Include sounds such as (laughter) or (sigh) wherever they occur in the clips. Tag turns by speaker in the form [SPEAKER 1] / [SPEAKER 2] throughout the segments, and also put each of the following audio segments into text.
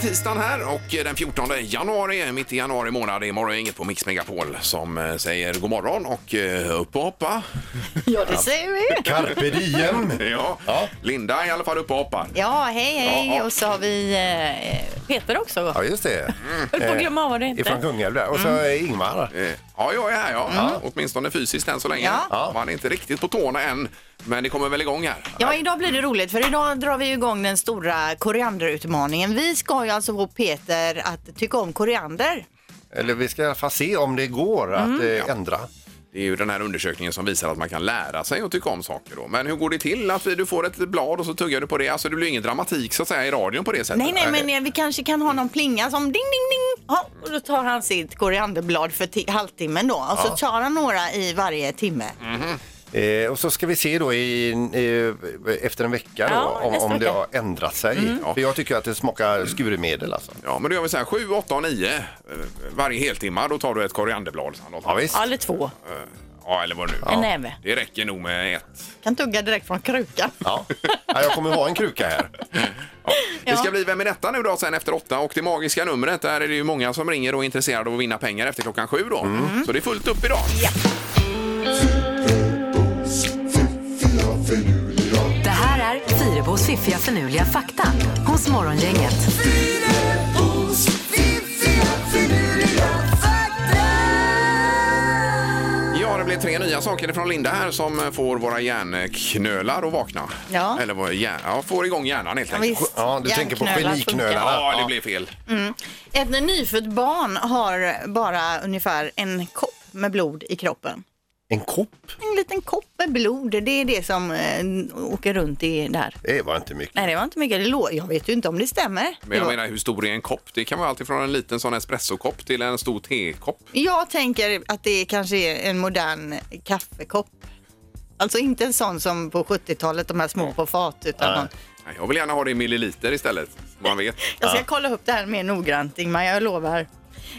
[SPEAKER 1] tisdagen här och eh, den 14 januari, eh, mitt i januari månad, det är morgon, inget på Mix Megapol som eh, säger god morgon och eh, upp och hoppa.
[SPEAKER 2] Ja, det säger vi.
[SPEAKER 3] Carpe diem.
[SPEAKER 1] Ja.
[SPEAKER 3] Ja.
[SPEAKER 1] Linda är i alla fall uppe och hoppar.
[SPEAKER 2] Ja, hej,
[SPEAKER 1] Ja, ja.
[SPEAKER 2] hej. Och så har vi eh, Peter också.
[SPEAKER 3] Ja, just det.
[SPEAKER 4] Höll
[SPEAKER 3] Eh,
[SPEAKER 4] på att glömma vad det Mm.
[SPEAKER 3] Ifrån
[SPEAKER 4] hette.
[SPEAKER 3] Kungälv där. Och så eh, Ingmar.
[SPEAKER 1] Eh, Ja, jag är här ja. Åtminstone fysiskt än så länge.
[SPEAKER 2] Ja.
[SPEAKER 3] Ja.
[SPEAKER 1] Man är inte riktigt på tårna än, men det kommer väl igång här.
[SPEAKER 2] Ja, idag blir det roligt för idag drar vi ju igång den stora korianderutmaningen. Vi ska ju alltså få Peter att tycka om koriander.
[SPEAKER 3] Eller vi ska i alla fall se om det går att
[SPEAKER 4] Mm.
[SPEAKER 3] eh, ändra.
[SPEAKER 1] Det är ju den här undersökningen som visar att man kan lära sig att tycka om saker. Då. Men hur går det till? Att du får ett blad och så tuggar du på det. Alltså det blir ingen dramatik så att säga i radion på det sättet.
[SPEAKER 2] Nej, nej, men eh, vi kanske kan ha någon plinga som ding, ding, ding. Ja, och då tar han sitt korianderblad för ti- halvtimmen då. Och så tar han några i varje timme.
[SPEAKER 3] Eh, och så ska vi se då i, eh, efter en vecka då,
[SPEAKER 4] Ja,
[SPEAKER 3] om,
[SPEAKER 4] nästa
[SPEAKER 3] om det
[SPEAKER 4] vecka. Mm.
[SPEAKER 3] har ändrat sig.
[SPEAKER 1] Ja.
[SPEAKER 3] För jag tycker att det smakar skurmedel alltså.
[SPEAKER 1] Ja, men då gör vi så här 7, 8 och 9 eh, varje heltimme. Då tar du ett korianderblad. Sandra.
[SPEAKER 3] Ja, visst.
[SPEAKER 4] Ja, eller två.
[SPEAKER 1] Ja, eller vad nu.
[SPEAKER 4] En näve.
[SPEAKER 1] Det räcker nog med ett.
[SPEAKER 2] Kan tugga direkt från krukan.
[SPEAKER 3] Ja. Ja, jag kommer ha en kruka här.
[SPEAKER 2] (laughs)
[SPEAKER 1] Det ska bli Vem är detta nu då sen efter åtta och det magiska numret. Där är det ju många som ringer och är intresserade av att vinna pengar efter klockan sju då. Så det är fullt upp idag.
[SPEAKER 5] Det här är Fyrabos fiffiga förnuliga fakta hos Morgongänget.
[SPEAKER 1] Ja, det blev tre nya saker från Linda här som får våra hjärnknölar att vakna.
[SPEAKER 2] Ja.
[SPEAKER 1] Eller vad, hjär, ja, får igång hjärnan helt enkelt.
[SPEAKER 2] Visst,
[SPEAKER 3] Ja, du tänker på
[SPEAKER 2] hjärnknölar funkar.
[SPEAKER 3] geniknölarna.
[SPEAKER 1] Ja, det blev fel.
[SPEAKER 2] Ett nyfött barn har bara ungefär en kopp med blod i kroppen.
[SPEAKER 3] En kopp?
[SPEAKER 2] En liten kopp med blod, det är det som eh, åker runt i där.
[SPEAKER 3] Det var inte mycket.
[SPEAKER 2] Nej, det var inte mycket. Det lå- jag vet ju inte om det stämmer.
[SPEAKER 1] Men
[SPEAKER 2] Det
[SPEAKER 1] jag
[SPEAKER 2] var-
[SPEAKER 1] menar, hur stor är en kopp? Det kan vara alltid från en liten sån espressokopp till en stor tekopp.
[SPEAKER 2] Jag tänker att det kanske är en modern kaffekopp. Alltså inte en sån som på 70-talet, de här små på fat. Utan någon.
[SPEAKER 1] Nej, Jag vill gärna ha det i milliliter istället. så Man vet.
[SPEAKER 2] Jag ska kolla upp det här mer noggrant, Ingmar. Jag lovar.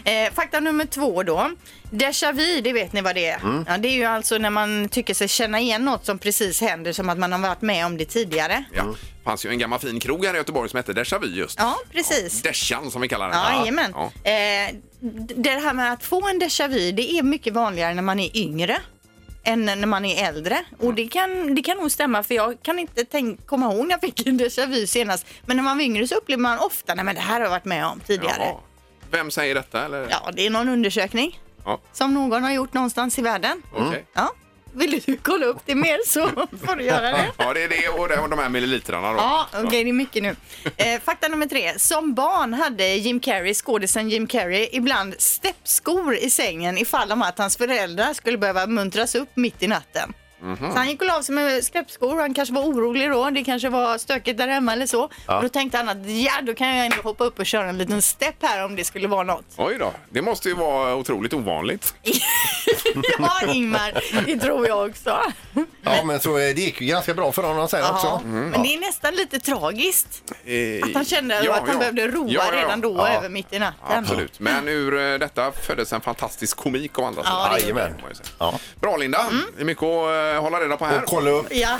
[SPEAKER 2] Eh, fakta nummer två då. Déjà vu, det vet ni vad det är. Ja, det är ju alltså när man tycker sig känna igen något som precis händer, som att man har varit med om det tidigare.
[SPEAKER 1] Ja. Det fanns ju en gammal fin krog här i Göteborg som hette Déjà Vu just.
[SPEAKER 2] Ja, precis.
[SPEAKER 1] Deschan som vi kallar den.
[SPEAKER 2] Ja, jajamän.
[SPEAKER 1] Ja.
[SPEAKER 2] Eh, d- det här med att få en déjà vu, det är mycket vanligare när man är yngre än när man är äldre. Och det kan, det kan nog stämma, för jag kan inte tänk, komma ihåg när jag fick en déjà vu senast. Men när man var yngre så upplever man ofta, nej men det här har jag varit med om tidigare.
[SPEAKER 1] Jaha. Vem säger detta? Eller?
[SPEAKER 2] Ja, det är någon undersökning
[SPEAKER 1] Ja,
[SPEAKER 2] som någon har gjort någonstans i världen.
[SPEAKER 3] Mm.
[SPEAKER 1] okej.
[SPEAKER 2] Ja. Vill du kolla upp det mer så (laughs) får du göra det.
[SPEAKER 1] ja, det är det och det- och de här millilitrarna då.
[SPEAKER 2] Ja, okej, det är mycket nu. Eh, fakta nummer tre. Som barn hade Jim Carrey, skådisen Jim Carrey, ibland steppskor i sängen ifall om att hans föräldrar skulle behöva muntras upp mitt i natten. Så han gick och la sig med steppskor. Han kanske var orolig då. Det kanske var stökigt där hemma eller så. Och då tänkte han att ja, då kan jag ändå hoppa upp och köra en liten stepp här om det skulle vara något.
[SPEAKER 1] Oj då, det måste ju vara otroligt ovanligt.
[SPEAKER 2] (laughs) ja, Ingmar, det tror jag också.
[SPEAKER 3] Ja, men så, eh, det gick ju ganska bra för honom sen
[SPEAKER 2] Ja,
[SPEAKER 3] också.
[SPEAKER 4] Mm.
[SPEAKER 1] mm,
[SPEAKER 2] Men det är nästan lite tragiskt.
[SPEAKER 1] Eh,
[SPEAKER 2] Att han kände
[SPEAKER 1] ja,
[SPEAKER 2] att han
[SPEAKER 1] ja.
[SPEAKER 2] behövde roa
[SPEAKER 1] Ja, ja, ja.
[SPEAKER 2] redan då
[SPEAKER 3] Ja.
[SPEAKER 2] över mitt i natten.
[SPEAKER 1] Absolut, men ur eh, detta föddes en fantastisk komik om andra
[SPEAKER 2] Ja, det- Mm.
[SPEAKER 3] Jajamän.
[SPEAKER 1] Får jag säga.
[SPEAKER 3] Ja.
[SPEAKER 1] Bra Linda, det är mycket att eh, hålla reda på här.
[SPEAKER 3] Och kolla upp.
[SPEAKER 1] (laughs)
[SPEAKER 2] Ja.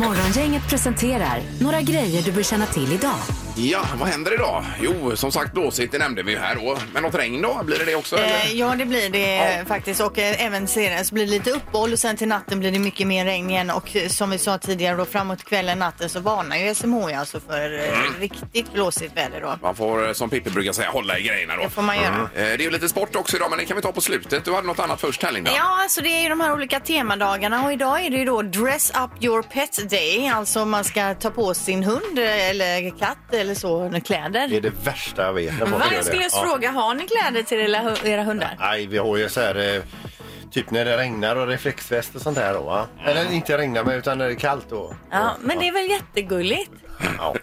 [SPEAKER 5] Morgongänget presenterar några grejer du bör känna till idag.
[SPEAKER 1] Ja, vad händer idag? Jo, som sagt blåsigt, det nämnde vi ju här då. Men något regn då? Blir det det också?
[SPEAKER 2] Eh,
[SPEAKER 1] eller?
[SPEAKER 2] ja, det blir det eh, faktiskt. Och eh, även senare så blir det lite uppehåll och sen till natten blir det mycket mer regn igen. Och eh, som vi sa tidigare då framåt kvällen, natten så varnar ju SMHI alltså för eh, riktigt blåsigt väder då.
[SPEAKER 1] Man får, eh, som Pippi brukar säga, hålla i grejerna då.
[SPEAKER 2] Det får man göra.
[SPEAKER 1] Eh, Det är ju lite sport också idag, men det kan vi ta på slutet. Du hade något annat först här Linda.
[SPEAKER 2] Ja, alltså det är ju de här olika temadagarna och idag är det ju då Dress Up Your Pet Day. Alltså man ska ta på sin hund eh, eller katt eller så
[SPEAKER 3] Det
[SPEAKER 2] kläder.
[SPEAKER 3] är det värsta jag vet. när folk
[SPEAKER 4] Vad
[SPEAKER 3] gör
[SPEAKER 4] jag
[SPEAKER 3] det.
[SPEAKER 4] skulle just
[SPEAKER 3] Ja.
[SPEAKER 4] fråga, har ni kläder till era, hu- era hundar?
[SPEAKER 3] Nej, vi har ju så här... eh, Typ när det regnar och reflexväst och sånt där då va? Eller inte regnar men utan när det är kallt då.
[SPEAKER 4] Ja, men det är väl jättegulligt?
[SPEAKER 3] Ja.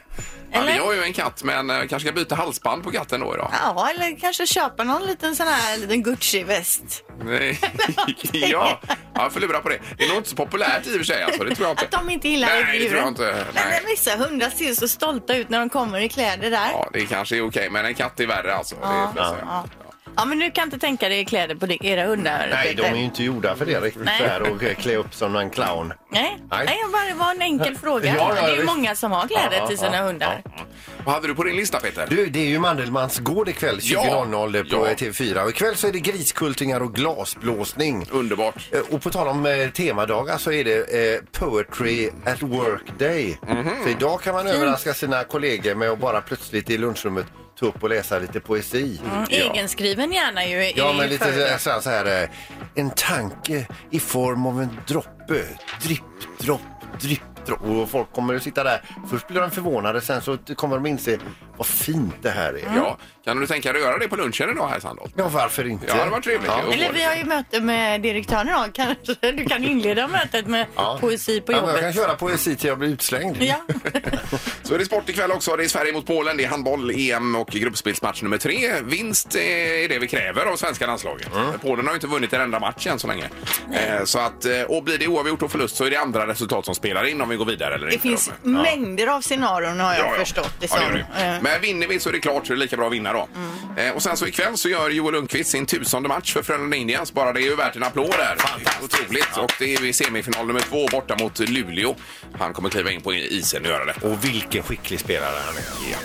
[SPEAKER 1] Ja, vi
[SPEAKER 4] Eller?
[SPEAKER 1] har ju en katt, men eh, kanske ska byta halsband på katten då (laughs) idag.
[SPEAKER 2] Ja, eller kanske köpa någon liten sån här liten Gucci-väst.
[SPEAKER 1] Nej. ja, jag förlorar på det. Det är nog inte så populärt i och för sig. Alltså. Det tror jag inte.
[SPEAKER 2] Att (laughs) de inte gillar
[SPEAKER 1] Nej, det
[SPEAKER 2] djuren.
[SPEAKER 1] tror jag inte.
[SPEAKER 2] Men
[SPEAKER 1] Nej.
[SPEAKER 2] vissa hundar ser så stolta ut när de kommer i kläder där.
[SPEAKER 1] Ja, det kanske är okej, men en katt är värre alltså. Det är får jag säga.
[SPEAKER 2] ja.
[SPEAKER 4] Ja, men du kan inte tänka dig kläder på di- era hundar?
[SPEAKER 3] Nej, de
[SPEAKER 4] Peter.
[SPEAKER 3] är ju inte gjorda för det riktigt
[SPEAKER 4] Nej.
[SPEAKER 3] så här och eh, klä upp som en clown.
[SPEAKER 4] Nej,
[SPEAKER 3] Nej.
[SPEAKER 4] Nej. jag bara det var en enkel fråga.
[SPEAKER 3] (laughs) Ja, ja,
[SPEAKER 4] det är ju
[SPEAKER 3] visst.
[SPEAKER 4] många som har kläder
[SPEAKER 3] Ja,
[SPEAKER 4] till
[SPEAKER 3] ja,
[SPEAKER 4] sina
[SPEAKER 3] ja.
[SPEAKER 4] hundar.
[SPEAKER 1] Vad hade du på din lista Peter?
[SPEAKER 3] Du, det är ju Mandelmans gård ikväll
[SPEAKER 1] Ja.
[SPEAKER 3] 20.00 på
[SPEAKER 1] Ja.
[SPEAKER 3] TV4. Och ikväll så är det griskultingar och glasblåsning.
[SPEAKER 1] Underbart.
[SPEAKER 3] Eh, Och på tal om eh, temadagar så är det eh, Poetry at Work Day. Så idag kan man överraska sina kollegor med att bara plötsligt i lunchrummet ta upp och läsa lite poesi.
[SPEAKER 2] Mm.
[SPEAKER 4] Egenskriven gärna ju. är
[SPEAKER 3] Mm. Ja,
[SPEAKER 4] ju
[SPEAKER 3] men lite
[SPEAKER 4] föredöme.
[SPEAKER 3] så- så här, så här eh, en tanke i form av en droppe. Dripp, dropp, dripp, dropp. Och folk kommer att sitta där. Först blir de förvånade, sen så kommer de inse vad fint det här är.
[SPEAKER 2] Mm.
[SPEAKER 1] Ja. Kan du tänka dig att göra det på lunchen idag här Sandholt?
[SPEAKER 3] Ja, varför inte?
[SPEAKER 1] Ja, det var trevligt. Jo.
[SPEAKER 2] Eller vi har ju möte med direktören idag (laughs) kanske.
[SPEAKER 4] Du kan inleda mötet med
[SPEAKER 3] Ja.
[SPEAKER 4] poesi på
[SPEAKER 3] Ja, men jag kan
[SPEAKER 4] jobbet.
[SPEAKER 3] köra poesi till jag blir utslängd.
[SPEAKER 4] Ja,
[SPEAKER 3] (laughs)
[SPEAKER 1] Så är det sport ikväll också. Det är Sverige mot Polen, det är handboll, EM och gruppspelsmatch nummer tre. Vinst eh, är det vi kräver av svenska landslaget.
[SPEAKER 2] Mm.
[SPEAKER 1] Polen har ju inte vunnit en enda match än så länge. Eh, Så att, eh, och blir det oavgjort och förlust så är det andra resultat som spelar in om vi går vidare eller
[SPEAKER 2] Det
[SPEAKER 1] inte.
[SPEAKER 2] finns
[SPEAKER 1] då.
[SPEAKER 2] mängder av scenarion har jag förstått det
[SPEAKER 1] Ja,
[SPEAKER 2] som.
[SPEAKER 1] det gör det.
[SPEAKER 2] Eh,
[SPEAKER 1] Men vinner vi så är det klart så är det lika bra att vinna då.
[SPEAKER 2] Mm.
[SPEAKER 1] Eh, och sen så ikväll så gör Joel Lundqvist sin tusende match för Frölunda Indians. Bara det är ju värt en applåd där. Otroligt. Och det är ju i semifinal nummer två borta mot Luleå. Han kommer kliva in på isen och göra det.
[SPEAKER 3] Och vilken skicklig spelare han är.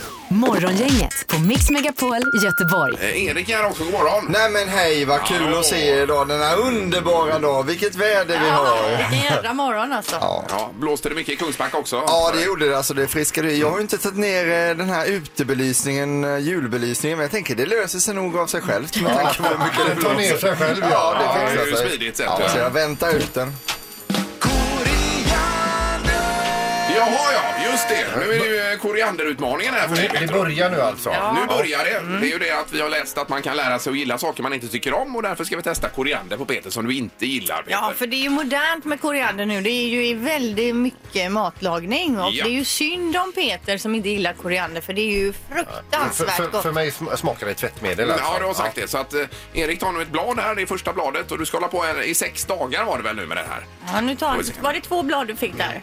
[SPEAKER 5] Morgongänget på Mix Megapol Göteborg.
[SPEAKER 1] Eh, Erik är här också, god morgon.
[SPEAKER 6] Nej men hej, vad kul att se er idag. Denna underbara dag. Vilket väder vi har.
[SPEAKER 4] vilken jädra morgon alltså.
[SPEAKER 1] Ja, blåste det mycket i Kungsbacka också?
[SPEAKER 6] Ja, det gjorde det. Alltså, det friskade ju. Jag har ju inte tagit ner eh, den här utebelysningen, eh, julbelysningen, men jag tänker det löser sig nog av sig självt med tanke på hur mycket det
[SPEAKER 1] (laughs)
[SPEAKER 3] Den tar ner
[SPEAKER 6] blåser.
[SPEAKER 3] sig själv, ja.
[SPEAKER 6] Ja,
[SPEAKER 1] Ja,
[SPEAKER 6] det
[SPEAKER 1] det är
[SPEAKER 6] fixar
[SPEAKER 1] ju
[SPEAKER 6] sig.
[SPEAKER 1] smidigt sätt, ja.
[SPEAKER 6] Ja, så jag väntar ut den.
[SPEAKER 1] Jaha, ja, just det. Nu är det ju eh, korianderutmaningen här för dig.
[SPEAKER 3] Det börjar nu alltså.
[SPEAKER 1] Nu börjar det.
[SPEAKER 2] Mm.
[SPEAKER 1] Det är ju det att vi har läst att man kan lära sig att gilla saker man inte tycker om och därför ska vi testa koriander på Peter som du inte gillar. Peter.
[SPEAKER 2] Ja, för det är ju modernt med koriander nu. Det är ju i väldigt mycket matlagning och
[SPEAKER 1] Ja.
[SPEAKER 2] det är ju synd om Peter som inte gillar koriander för det är ju
[SPEAKER 3] För,
[SPEAKER 2] fruktansvärt
[SPEAKER 3] för,
[SPEAKER 2] gott.
[SPEAKER 3] för mig sm- smakar det tvättmedel alltså.
[SPEAKER 1] Ja, du har sagt det. Så att eh, Erik tar nu ett blad här, det är första bladet och du ska hålla på en, i sex dagar var det väl nu med det här?
[SPEAKER 4] Ja, nu tar, var det två blad du fick där?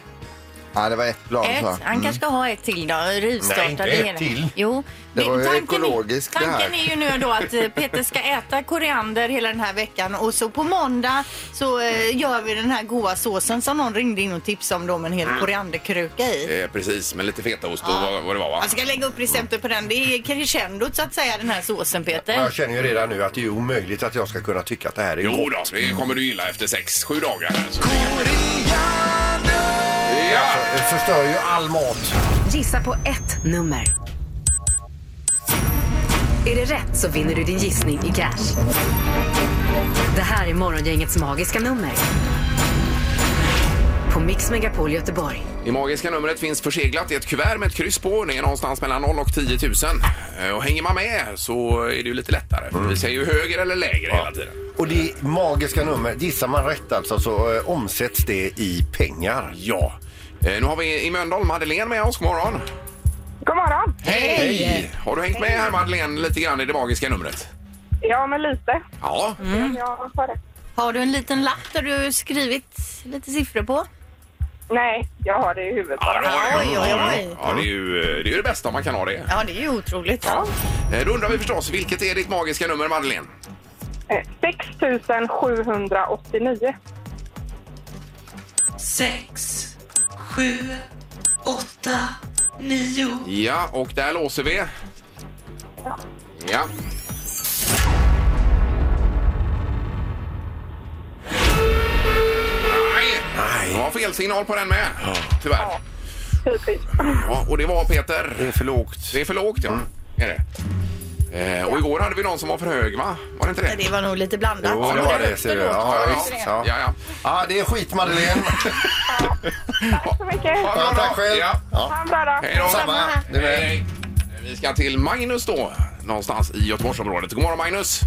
[SPEAKER 6] Ja, det var ett blad
[SPEAKER 4] Ett.
[SPEAKER 6] tror jag.
[SPEAKER 4] Han kanske ska ha ett till då. Rivstarta
[SPEAKER 3] Nej, inte
[SPEAKER 4] det
[SPEAKER 3] ett
[SPEAKER 4] hela.
[SPEAKER 3] till.
[SPEAKER 4] Jo.
[SPEAKER 6] Det
[SPEAKER 4] men
[SPEAKER 6] var ju
[SPEAKER 4] tanken är-
[SPEAKER 6] ekologiskt, det här.
[SPEAKER 4] Tanken är ju nu då att eh, Peter ska äta koriander hela
[SPEAKER 2] den här veckan och så på måndag så eh, gör vi den här goda såsen som någon ringde in och tipsade om då med en hel korianderkruka i.
[SPEAKER 1] Eh, precis, med lite fetaost och vad, vad det var va?
[SPEAKER 2] Jag Alltså, ska lägga upp receptet på den. Det är crescendot så att säga den här såsen
[SPEAKER 3] Ja,
[SPEAKER 2] Peter.
[SPEAKER 3] Jag känner ju redan nu att det är omöjligt att jag ska kunna tycka att det här är
[SPEAKER 1] Jo
[SPEAKER 3] gott.
[SPEAKER 1] då, det kommer du gilla efter sex, sju dagar. här. Så Ja!
[SPEAKER 3] Det förstör ju all mat.
[SPEAKER 5] Gissa på ett nummer. Är det rätt så vinner du din gissning i cash. Det här är Morgongängets magiska nummer. På Mix Megapol Göteborg.
[SPEAKER 1] I magiska numret finns förseglat i ett kuvert med ett kryss på. Det är någonstans mellan 0 och 10 000. Eh, Och hänger man med så är det ju lite lättare. För Vi säger ju högre eller lägre hela tiden.
[SPEAKER 3] Och det magiska numret, gissar man rätt alltså så eh, omsätts det i pengar.
[SPEAKER 1] Ja. Eh, Nu har vi i Mölndal Madeleine med oss. God morgon.
[SPEAKER 7] God morgon!
[SPEAKER 1] Hej! Har du hängt med här Madeleine lite grann i det magiska numret?
[SPEAKER 7] Ja, men lite.
[SPEAKER 1] Ja.
[SPEAKER 8] Mm.
[SPEAKER 7] Jag har det.
[SPEAKER 4] Har du en liten lapp där du skrivit lite siffror på?
[SPEAKER 7] Nej, jag har det i huvudet
[SPEAKER 1] Ja, det
[SPEAKER 7] bara.
[SPEAKER 1] har du.
[SPEAKER 2] Oj, oj, oj.
[SPEAKER 1] Ja, det är ju eh, det, är ju det bästa om man kan ha det.
[SPEAKER 2] Ja, det är ju otroligt.
[SPEAKER 1] Eh, Då undrar vi förstås, vilket är ditt magiska nummer Madeleine?
[SPEAKER 7] Eh, 6 789.
[SPEAKER 9] sex, sju, åtta, nio.
[SPEAKER 1] Ja, och där låser vi. Ja. Nej! Det var fel signal på den med, tyvärr.
[SPEAKER 7] Typiskt.
[SPEAKER 1] Ja, och det var Peter.
[SPEAKER 3] Det är för lågt.
[SPEAKER 1] Det är för lågt, ja. Är det. Eh, och igår hade vi någon som var för hög, va? Var det inte det?
[SPEAKER 2] Det var nog lite blandat.
[SPEAKER 3] Jo, det var det. Ser du. Ja,
[SPEAKER 1] Ja,
[SPEAKER 3] visst.
[SPEAKER 1] ja. ja,
[SPEAKER 3] Ja.
[SPEAKER 1] ja.
[SPEAKER 3] ja, det är skit Madeleine.
[SPEAKER 7] Tack så mycket.
[SPEAKER 1] Ha en bra
[SPEAKER 3] Ja,
[SPEAKER 1] dag.
[SPEAKER 3] tack själv.
[SPEAKER 1] (laughs) Ja.
[SPEAKER 7] Ha en bra dag.
[SPEAKER 1] Hej då.
[SPEAKER 3] Samma. Du
[SPEAKER 1] Hej,
[SPEAKER 3] med.
[SPEAKER 1] hej. Vi ska till Magnus då, någonstans i Göteborgsområdet. God morgon Magnus!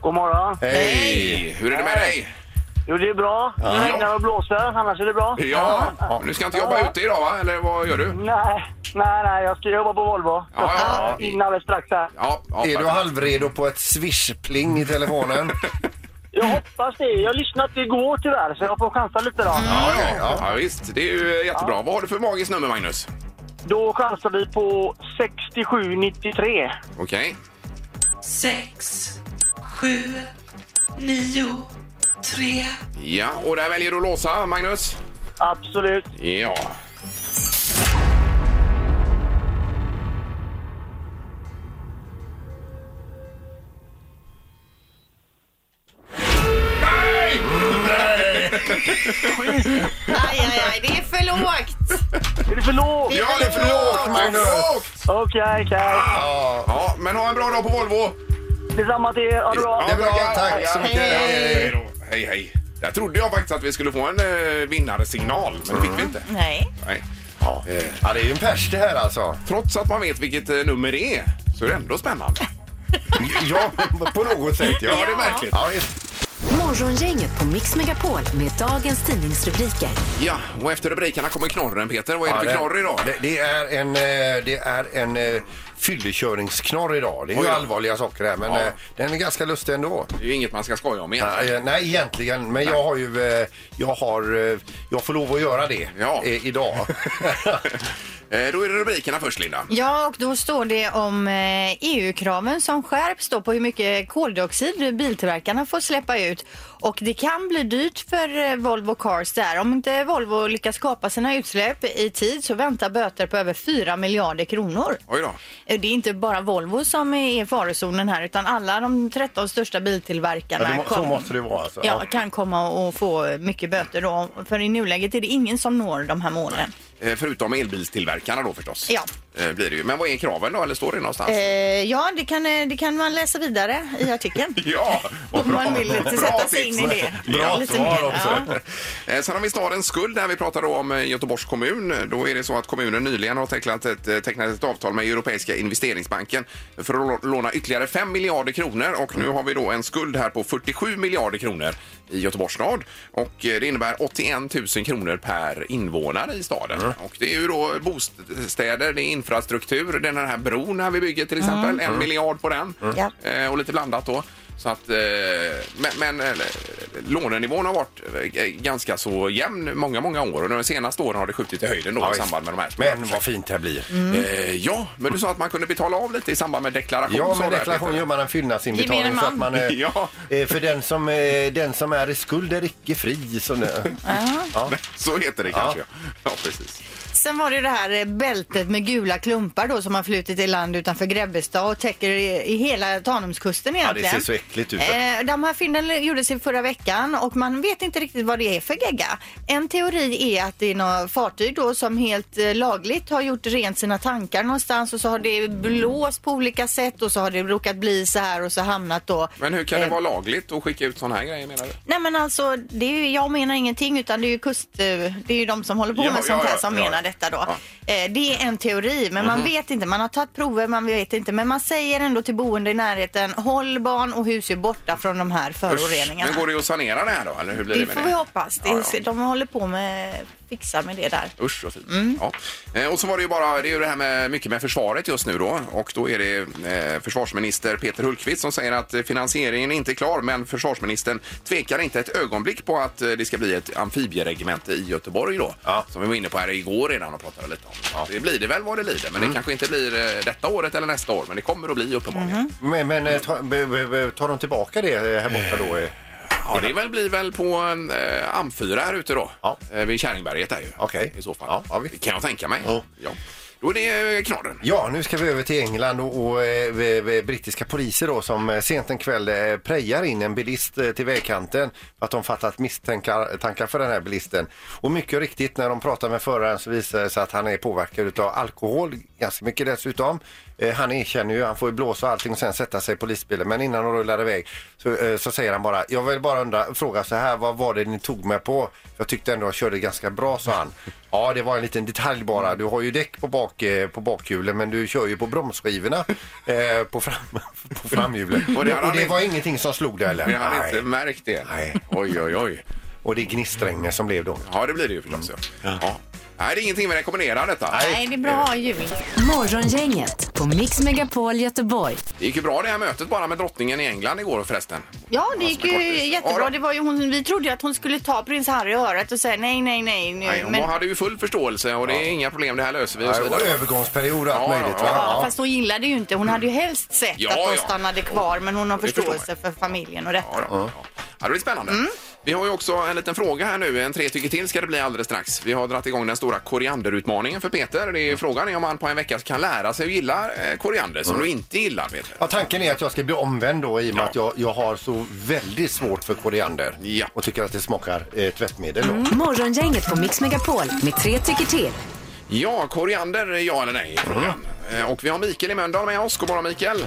[SPEAKER 10] God morgon.
[SPEAKER 1] Hej! Hur är det med dig?
[SPEAKER 10] Jo, det är bra. Det regnar och blåser, annars är det bra.
[SPEAKER 1] Ja, nu ska inte jobba ute idag va? Eller vad gör du?
[SPEAKER 10] Nej, nej, nej. Jag ska jobba på Volvo.
[SPEAKER 1] Ja, ja,
[SPEAKER 10] In alldeles strax här.
[SPEAKER 1] ja. ja,
[SPEAKER 3] Är du
[SPEAKER 1] perfekt.
[SPEAKER 3] halvredo på ett swish-pling i
[SPEAKER 1] (laughs)
[SPEAKER 3] telefonen?
[SPEAKER 10] Jag hoppas det. Jag lyssnade igår tyvärr, så jag får chansa lite då.
[SPEAKER 1] ja, ja, ja, visst. Det är ju jättebra. Vad har du för magiskt nummer Magnus?
[SPEAKER 10] Då chansar vi på 6793.
[SPEAKER 1] Okej.
[SPEAKER 9] Sex, sju, nio, tre.
[SPEAKER 1] Ja, och där väljer du att låsa Magnus?
[SPEAKER 10] Absolut.
[SPEAKER 1] Ja.
[SPEAKER 2] Aj, aj, aj, det är för lågt.
[SPEAKER 10] Är det för lågt?
[SPEAKER 1] Ja, det är för lågt, Magnus!
[SPEAKER 10] Okej, okej.
[SPEAKER 1] Ja, men ha en bra dag på Volvo!
[SPEAKER 10] Detsamma till er. Ha det bra.
[SPEAKER 1] Ja, bra,
[SPEAKER 3] tack så mycket.
[SPEAKER 1] Hej, hej, då. hej, hej. Där trodde jag faktiskt att vi skulle få en eh, vinnarsignal, men det fick vi inte.
[SPEAKER 2] Nej.
[SPEAKER 1] Nej. Ja. Eh,
[SPEAKER 3] Ja, det är ju en pers det här alltså.
[SPEAKER 1] trots att man vet vilket eh, nummer det är, så är det ändå spännande.
[SPEAKER 3] Ja, på något sätt.
[SPEAKER 1] Ja, det är märkligt.
[SPEAKER 3] Ja, visst.
[SPEAKER 5] Morgongänget på Mix Megapol med dagens tidningsrubriker.
[SPEAKER 1] Ja, och efter rubrikerna kommer knorren, Peter. Vad är det
[SPEAKER 3] Ja,
[SPEAKER 1] för knorr idag?
[SPEAKER 3] Det, det är en, eh, det är en eh, fyllekörningsknorr idag. Det är
[SPEAKER 1] Oj
[SPEAKER 3] ju
[SPEAKER 1] då.
[SPEAKER 3] allvarliga saker här, men
[SPEAKER 1] Ja.
[SPEAKER 3] eh, den är ganska lustig ändå.
[SPEAKER 1] Det är ju inget man ska skoja om egentligen.
[SPEAKER 3] Nej, eh, nej, egentligen. Men jag har ju... eh, Jag, har, eh, jag får lov att göra det
[SPEAKER 1] Ja.
[SPEAKER 3] eh,
[SPEAKER 1] (laughs)
[SPEAKER 3] idag.
[SPEAKER 1] Eh, Då är det rubrikerna först, Linda.
[SPEAKER 2] Ja, och då står det om eh, EU-kraven som skärps då på hur mycket koldioxid biltillverkarna får släppa ut. Och det kan bli dyrt för eh, Volvo Cars där. Om inte Volvo lyckas kapa sina utsläpp i tid så väntar böter på över 4 miljarder kronor.
[SPEAKER 1] Oj då.
[SPEAKER 2] Eh, Det är inte bara Volvo som är i farozonen här utan alla de 13 största
[SPEAKER 3] Ja,
[SPEAKER 2] biltillverkarna
[SPEAKER 3] det, må- så
[SPEAKER 2] kom-
[SPEAKER 3] måste det vara. Alltså.
[SPEAKER 2] ja, kan komma och få mycket böter då. För i nuläget är det ingen som når de här målen.
[SPEAKER 1] Eh, Förutom elbilstillverkarna då förstås.
[SPEAKER 2] Ja.
[SPEAKER 1] Eh, Blir det ju. Men vad är kraven då? Eller står det någonstans?
[SPEAKER 2] Eh, ja, det kan, eh, det kan man läsa vidare
[SPEAKER 3] (laughs)
[SPEAKER 2] i artikeln.
[SPEAKER 1] (laughs) Ja, vad
[SPEAKER 2] Om man vill lite
[SPEAKER 1] Bra
[SPEAKER 2] sätta sig
[SPEAKER 1] tips.
[SPEAKER 2] in i det.
[SPEAKER 1] Bra
[SPEAKER 2] Lite
[SPEAKER 1] svar
[SPEAKER 2] mer,
[SPEAKER 1] också. Eh, Sen har vi stadens skuld där vi pratar då om eh, Göteborgs kommun. Då är det så att kommunen nyligen har tecknat ett, eh, tecknat ett avtal med Europeiska investeringsbanken för att lå- låna ytterligare 5 miljarder kronor och nu har vi då en skuld här på 47 miljarder kronor i Göteborgs stad och eh, det innebär 81 000 kronor per invånare i staden. Och det är ju då bostäder, det är infrastruktur, den här bron här vi bygger till exempel, en miljard på den
[SPEAKER 2] Ja.
[SPEAKER 1] Eh, och lite blandat då. Så att, eh, men men eh, lånenivån har varit eh, ganska så jämn många, många år och de senaste åren har det skjutit i höjden då i
[SPEAKER 3] visst.
[SPEAKER 1] samband med de här.
[SPEAKER 3] Men vad fint det här blir.
[SPEAKER 2] Mm.
[SPEAKER 1] Eh, ja, men du sa att man kunde betala av lite i samband med deklaration.
[SPEAKER 3] Ja,
[SPEAKER 1] sa
[SPEAKER 3] med
[SPEAKER 1] du,
[SPEAKER 3] deklaration
[SPEAKER 1] Peter.
[SPEAKER 3] gör man en fyllnadsinbetalning.
[SPEAKER 2] Gemene
[SPEAKER 3] Så att man, eh,
[SPEAKER 1] (laughs) Ja.
[SPEAKER 3] eh, för den som, eh, den som är i skuld är icke fri. Så, nu-
[SPEAKER 2] (laughs)
[SPEAKER 3] ja.
[SPEAKER 1] (laughs) Så heter det kanske. Ja, ja precis.
[SPEAKER 2] Sen var det det här eh, bältet med gula klumpar då som har flutit i land utanför Grebbestad och täcker i, i hela Tanumskusten
[SPEAKER 3] ja, det
[SPEAKER 2] egentligen.
[SPEAKER 3] ser så äckligt ut.
[SPEAKER 2] Eh, de här fynden gjordes i förra veckan och man vet inte riktigt vad det är för gegga. En teori är att det är några fartyg då som helt eh, lagligt har gjort rent sina tankar någonstans och så har det blåst på olika sätt och så har det råkat bli så här och så hamnat då.
[SPEAKER 1] Men hur kan det
[SPEAKER 2] eh,
[SPEAKER 1] vara lagligt att skicka ut sådana här grejer menar du?
[SPEAKER 2] Nej men alltså, det är ju, jag menar ingenting utan det är ju kust, eh, det är ju de som håller på
[SPEAKER 1] Ja,
[SPEAKER 2] med sånt
[SPEAKER 1] ja,
[SPEAKER 2] här
[SPEAKER 1] ja,
[SPEAKER 2] som
[SPEAKER 1] ja. Mhm.
[SPEAKER 2] menar detta då. Eh, det är en teori men man vet inte, man har tagit prover man vet inte men man säger ändå till boende i närheten håll barn och husdjur borta från de här föroreningarna.
[SPEAKER 1] Men går det att sanera det här då? Eller hur blir det,
[SPEAKER 2] det
[SPEAKER 1] med
[SPEAKER 2] får vi hoppas. Det,
[SPEAKER 1] Ja,
[SPEAKER 2] är-
[SPEAKER 1] ja.
[SPEAKER 2] De håller på med, fixar med det där.
[SPEAKER 1] Usch vad fint. Ja. Eh, Och så var det ju bara, det är ju det här med mycket med försvaret just nu då och då är det eh, försvarsminister Peter Hultqvist som säger att eh, finansieringen inte är klar men försvarsministern tvekar inte ett ögonblick på att eh, det ska bli ett amfibieregemente i Göteborg då.
[SPEAKER 3] Ja.
[SPEAKER 1] Som vi var inne på här igår redan och pratade lite om. Det blir det väl vad det lider men
[SPEAKER 3] Mm.
[SPEAKER 1] det kanske inte blir eh, detta året eller nästa år men det kommer att bli uppenbarligen.
[SPEAKER 3] Men, men eh, ta, be, be, be, tar de tillbaka det eh, här borta då? eh?
[SPEAKER 1] Ja, det väl, blir väl på en eh, AM4 här ute då.
[SPEAKER 3] Ja.
[SPEAKER 1] Eh, vid Käringberget där ju.
[SPEAKER 3] Okej.
[SPEAKER 1] I så fall.
[SPEAKER 3] Ja, ja, visst.
[SPEAKER 1] Det kan jag tänka mig.
[SPEAKER 3] Ja.
[SPEAKER 1] Ja. Då är det eh, knorren.
[SPEAKER 3] Ja, nu ska vi över till England och, och eh, v- v- brittiska poliser då som eh, sent en kväll eh, prejar in en bilist eh, till vägkanten för att de fattat misstankar tankar för den här bilisten. Och mycket riktigt när de pratar med föraren så visar det sig att han är påverkad av alkohol, ganska mycket dessutom. Eh, Han erkänner ju, han får ju blåsa och allting och sen sätta sig i polisbilen. Men innan de rullar iväg så, eh, så säger han bara, jag vill bara undra, fråga så här, vad var det ni tog mig på? Jag tyckte ändå jag körde ganska bra, sa
[SPEAKER 1] (laughs)
[SPEAKER 3] han. Ja, det var en liten detalj bara. Du har ju däck på, bak, eh, på bakhjulen men du kör ju på
[SPEAKER 1] (laughs)
[SPEAKER 3] bromsskivorna eh, på, fram, (laughs) på framhjulen.
[SPEAKER 1] Och
[SPEAKER 3] Och
[SPEAKER 1] det
[SPEAKER 3] det,
[SPEAKER 1] hade han
[SPEAKER 3] var ingenting som slog dig eller?
[SPEAKER 1] Vi har inte
[SPEAKER 3] Nej.
[SPEAKER 1] märkt det.
[SPEAKER 3] Nej.
[SPEAKER 1] Oj, oj, oj.
[SPEAKER 3] Och det är gnistregn som blev då.
[SPEAKER 1] Ja, det blir det ju förstås. Ja. Ja. Nej, det är ingenting vi rekommenderar detta.
[SPEAKER 2] Nej, det är bra att ha jul.
[SPEAKER 5] Morgongänget på Mix Megapol Göteborg.
[SPEAKER 1] Det gick ju bra det här mötet bara med drottningen i England igår förresten.
[SPEAKER 2] Ja, det gick
[SPEAKER 1] som är
[SPEAKER 2] ju
[SPEAKER 1] kortis. Ja,
[SPEAKER 2] jättebra.
[SPEAKER 1] då.
[SPEAKER 2] Det var ju hon, vi trodde ju att hon skulle ta prins Harry i örat och säga nej, nej, nej nu.
[SPEAKER 1] Nej, hon
[SPEAKER 2] men,
[SPEAKER 1] hade ju full förståelse och det är inga problem, det här löser vi och
[SPEAKER 3] Ja,
[SPEAKER 1] så
[SPEAKER 3] och
[SPEAKER 1] vidare.
[SPEAKER 3] övergångsperiod och allt
[SPEAKER 1] Ja,
[SPEAKER 3] möjligt.
[SPEAKER 1] ja,
[SPEAKER 3] va?
[SPEAKER 2] Ja, fast hon gillade ju inte. Hon hade ju helst sett
[SPEAKER 1] Ja,
[SPEAKER 2] att hon
[SPEAKER 1] ja.
[SPEAKER 2] stannade kvar men hon har
[SPEAKER 1] Det förstår
[SPEAKER 2] förståelse för familjen och detta. Mm.
[SPEAKER 1] Ja, då. Ja. Ja, det blir spännande. Vi har ju också en liten fråga här nu. En tre tycker till ska det bli alldeles strax. Vi har dragit igång den stora korianderutmaningen för Peter. Det är frågan är om han på en vecka kan lära sig att gilla eh, koriander som du inte gillar, Peter.
[SPEAKER 3] Ja, tanken är att jag ska bli omvänd då i och med att jag, jag har så väldigt svårt för koriander
[SPEAKER 1] Ja.
[SPEAKER 3] och tycker att det smakar eh, tvättmedel. då.
[SPEAKER 5] Mm. Morgongänget på Mix Megapol med tre tycker till.
[SPEAKER 1] Ja, koriander, ja eller nej? Frågan. Eh, Och vi har Mikael i Mölndal med oss. God morgon, Mikael.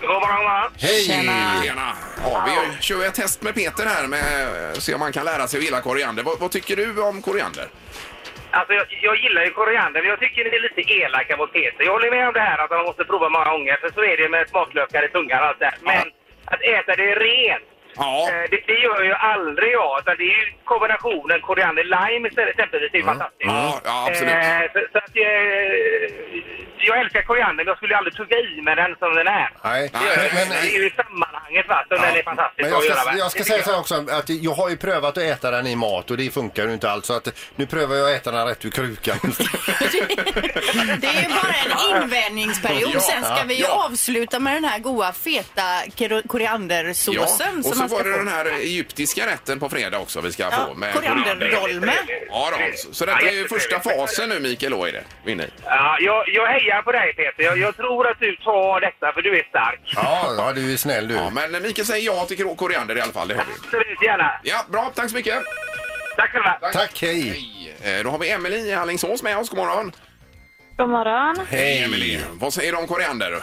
[SPEAKER 10] God morgon, va?
[SPEAKER 1] Hej! Tjena! Ja, vi kör ju ett test med Peter här med eh, se om han kan lära sig att gilla koriander. Vad, vad tycker du om koriander?
[SPEAKER 10] Alltså, jag, jag gillar ju koriander, men jag tycker ni är lite elaka mot Peter. Jag håller med om det här att man måste prova många gånger, för så är det med smaklökar i tungan och allt det här. Men att äta det rent,
[SPEAKER 1] Ja.
[SPEAKER 10] eh, det, det gör ju aldrig jag. Utan det är ju kombinationen koriander-lime istället, exempelvis. Det är ju fantastiskt.
[SPEAKER 1] Mm. Ja, ja, absolut.
[SPEAKER 10] Eh, så, så att, eh, jag älskar koriander, men jag skulle ju aldrig tugga i med den som den är.
[SPEAKER 3] Nej,
[SPEAKER 10] Det gör jag
[SPEAKER 3] men,
[SPEAKER 10] inte. Det är ju sammanhanget, va? Så den är fantastisk
[SPEAKER 3] men jag
[SPEAKER 10] att göra,
[SPEAKER 3] ska,
[SPEAKER 10] va?
[SPEAKER 3] jag ska
[SPEAKER 10] Det
[SPEAKER 3] säga
[SPEAKER 10] tycker
[SPEAKER 3] så här också att jag har ju prövat att äta den i mat och det funkar ju inte alls. Så att nu prövar jag att äta den rätt ur krukan.
[SPEAKER 2] Det är ju bara en invändningsperiod.
[SPEAKER 1] Ja,
[SPEAKER 2] Sen ska vi ju
[SPEAKER 1] ja.
[SPEAKER 2] avsluta med den här goda feta kor- koriandersåsen.
[SPEAKER 1] Ja,
[SPEAKER 2] som
[SPEAKER 1] och så
[SPEAKER 2] man ska
[SPEAKER 1] var det
[SPEAKER 2] få.
[SPEAKER 1] den här egyptiska rätten på fredag också vi ska
[SPEAKER 2] Ja,
[SPEAKER 1] få med
[SPEAKER 2] korianderrolme.
[SPEAKER 1] Ja, då. Så- Så detta är ju första fasen nu Mikael då är det. Vi är inne i.
[SPEAKER 10] Ja, jag, jag hejar på dig Peter. Jag, jag tror att du tar detta för du är stark.
[SPEAKER 3] Ja, ja du är snäll du.
[SPEAKER 1] Ja, men Mikael säger ja till kor- koriander i alla fall, det hör vi.
[SPEAKER 10] Absolut, gärna.
[SPEAKER 1] Ja, bra, tack så mycket.
[SPEAKER 10] Tack själva.
[SPEAKER 3] Tack, hej.
[SPEAKER 1] Eh, Då har vi Emelie i Alingsås med oss, god morgon.
[SPEAKER 7] God morgon.
[SPEAKER 1] Hej Emelie. Vad säger du om koriander?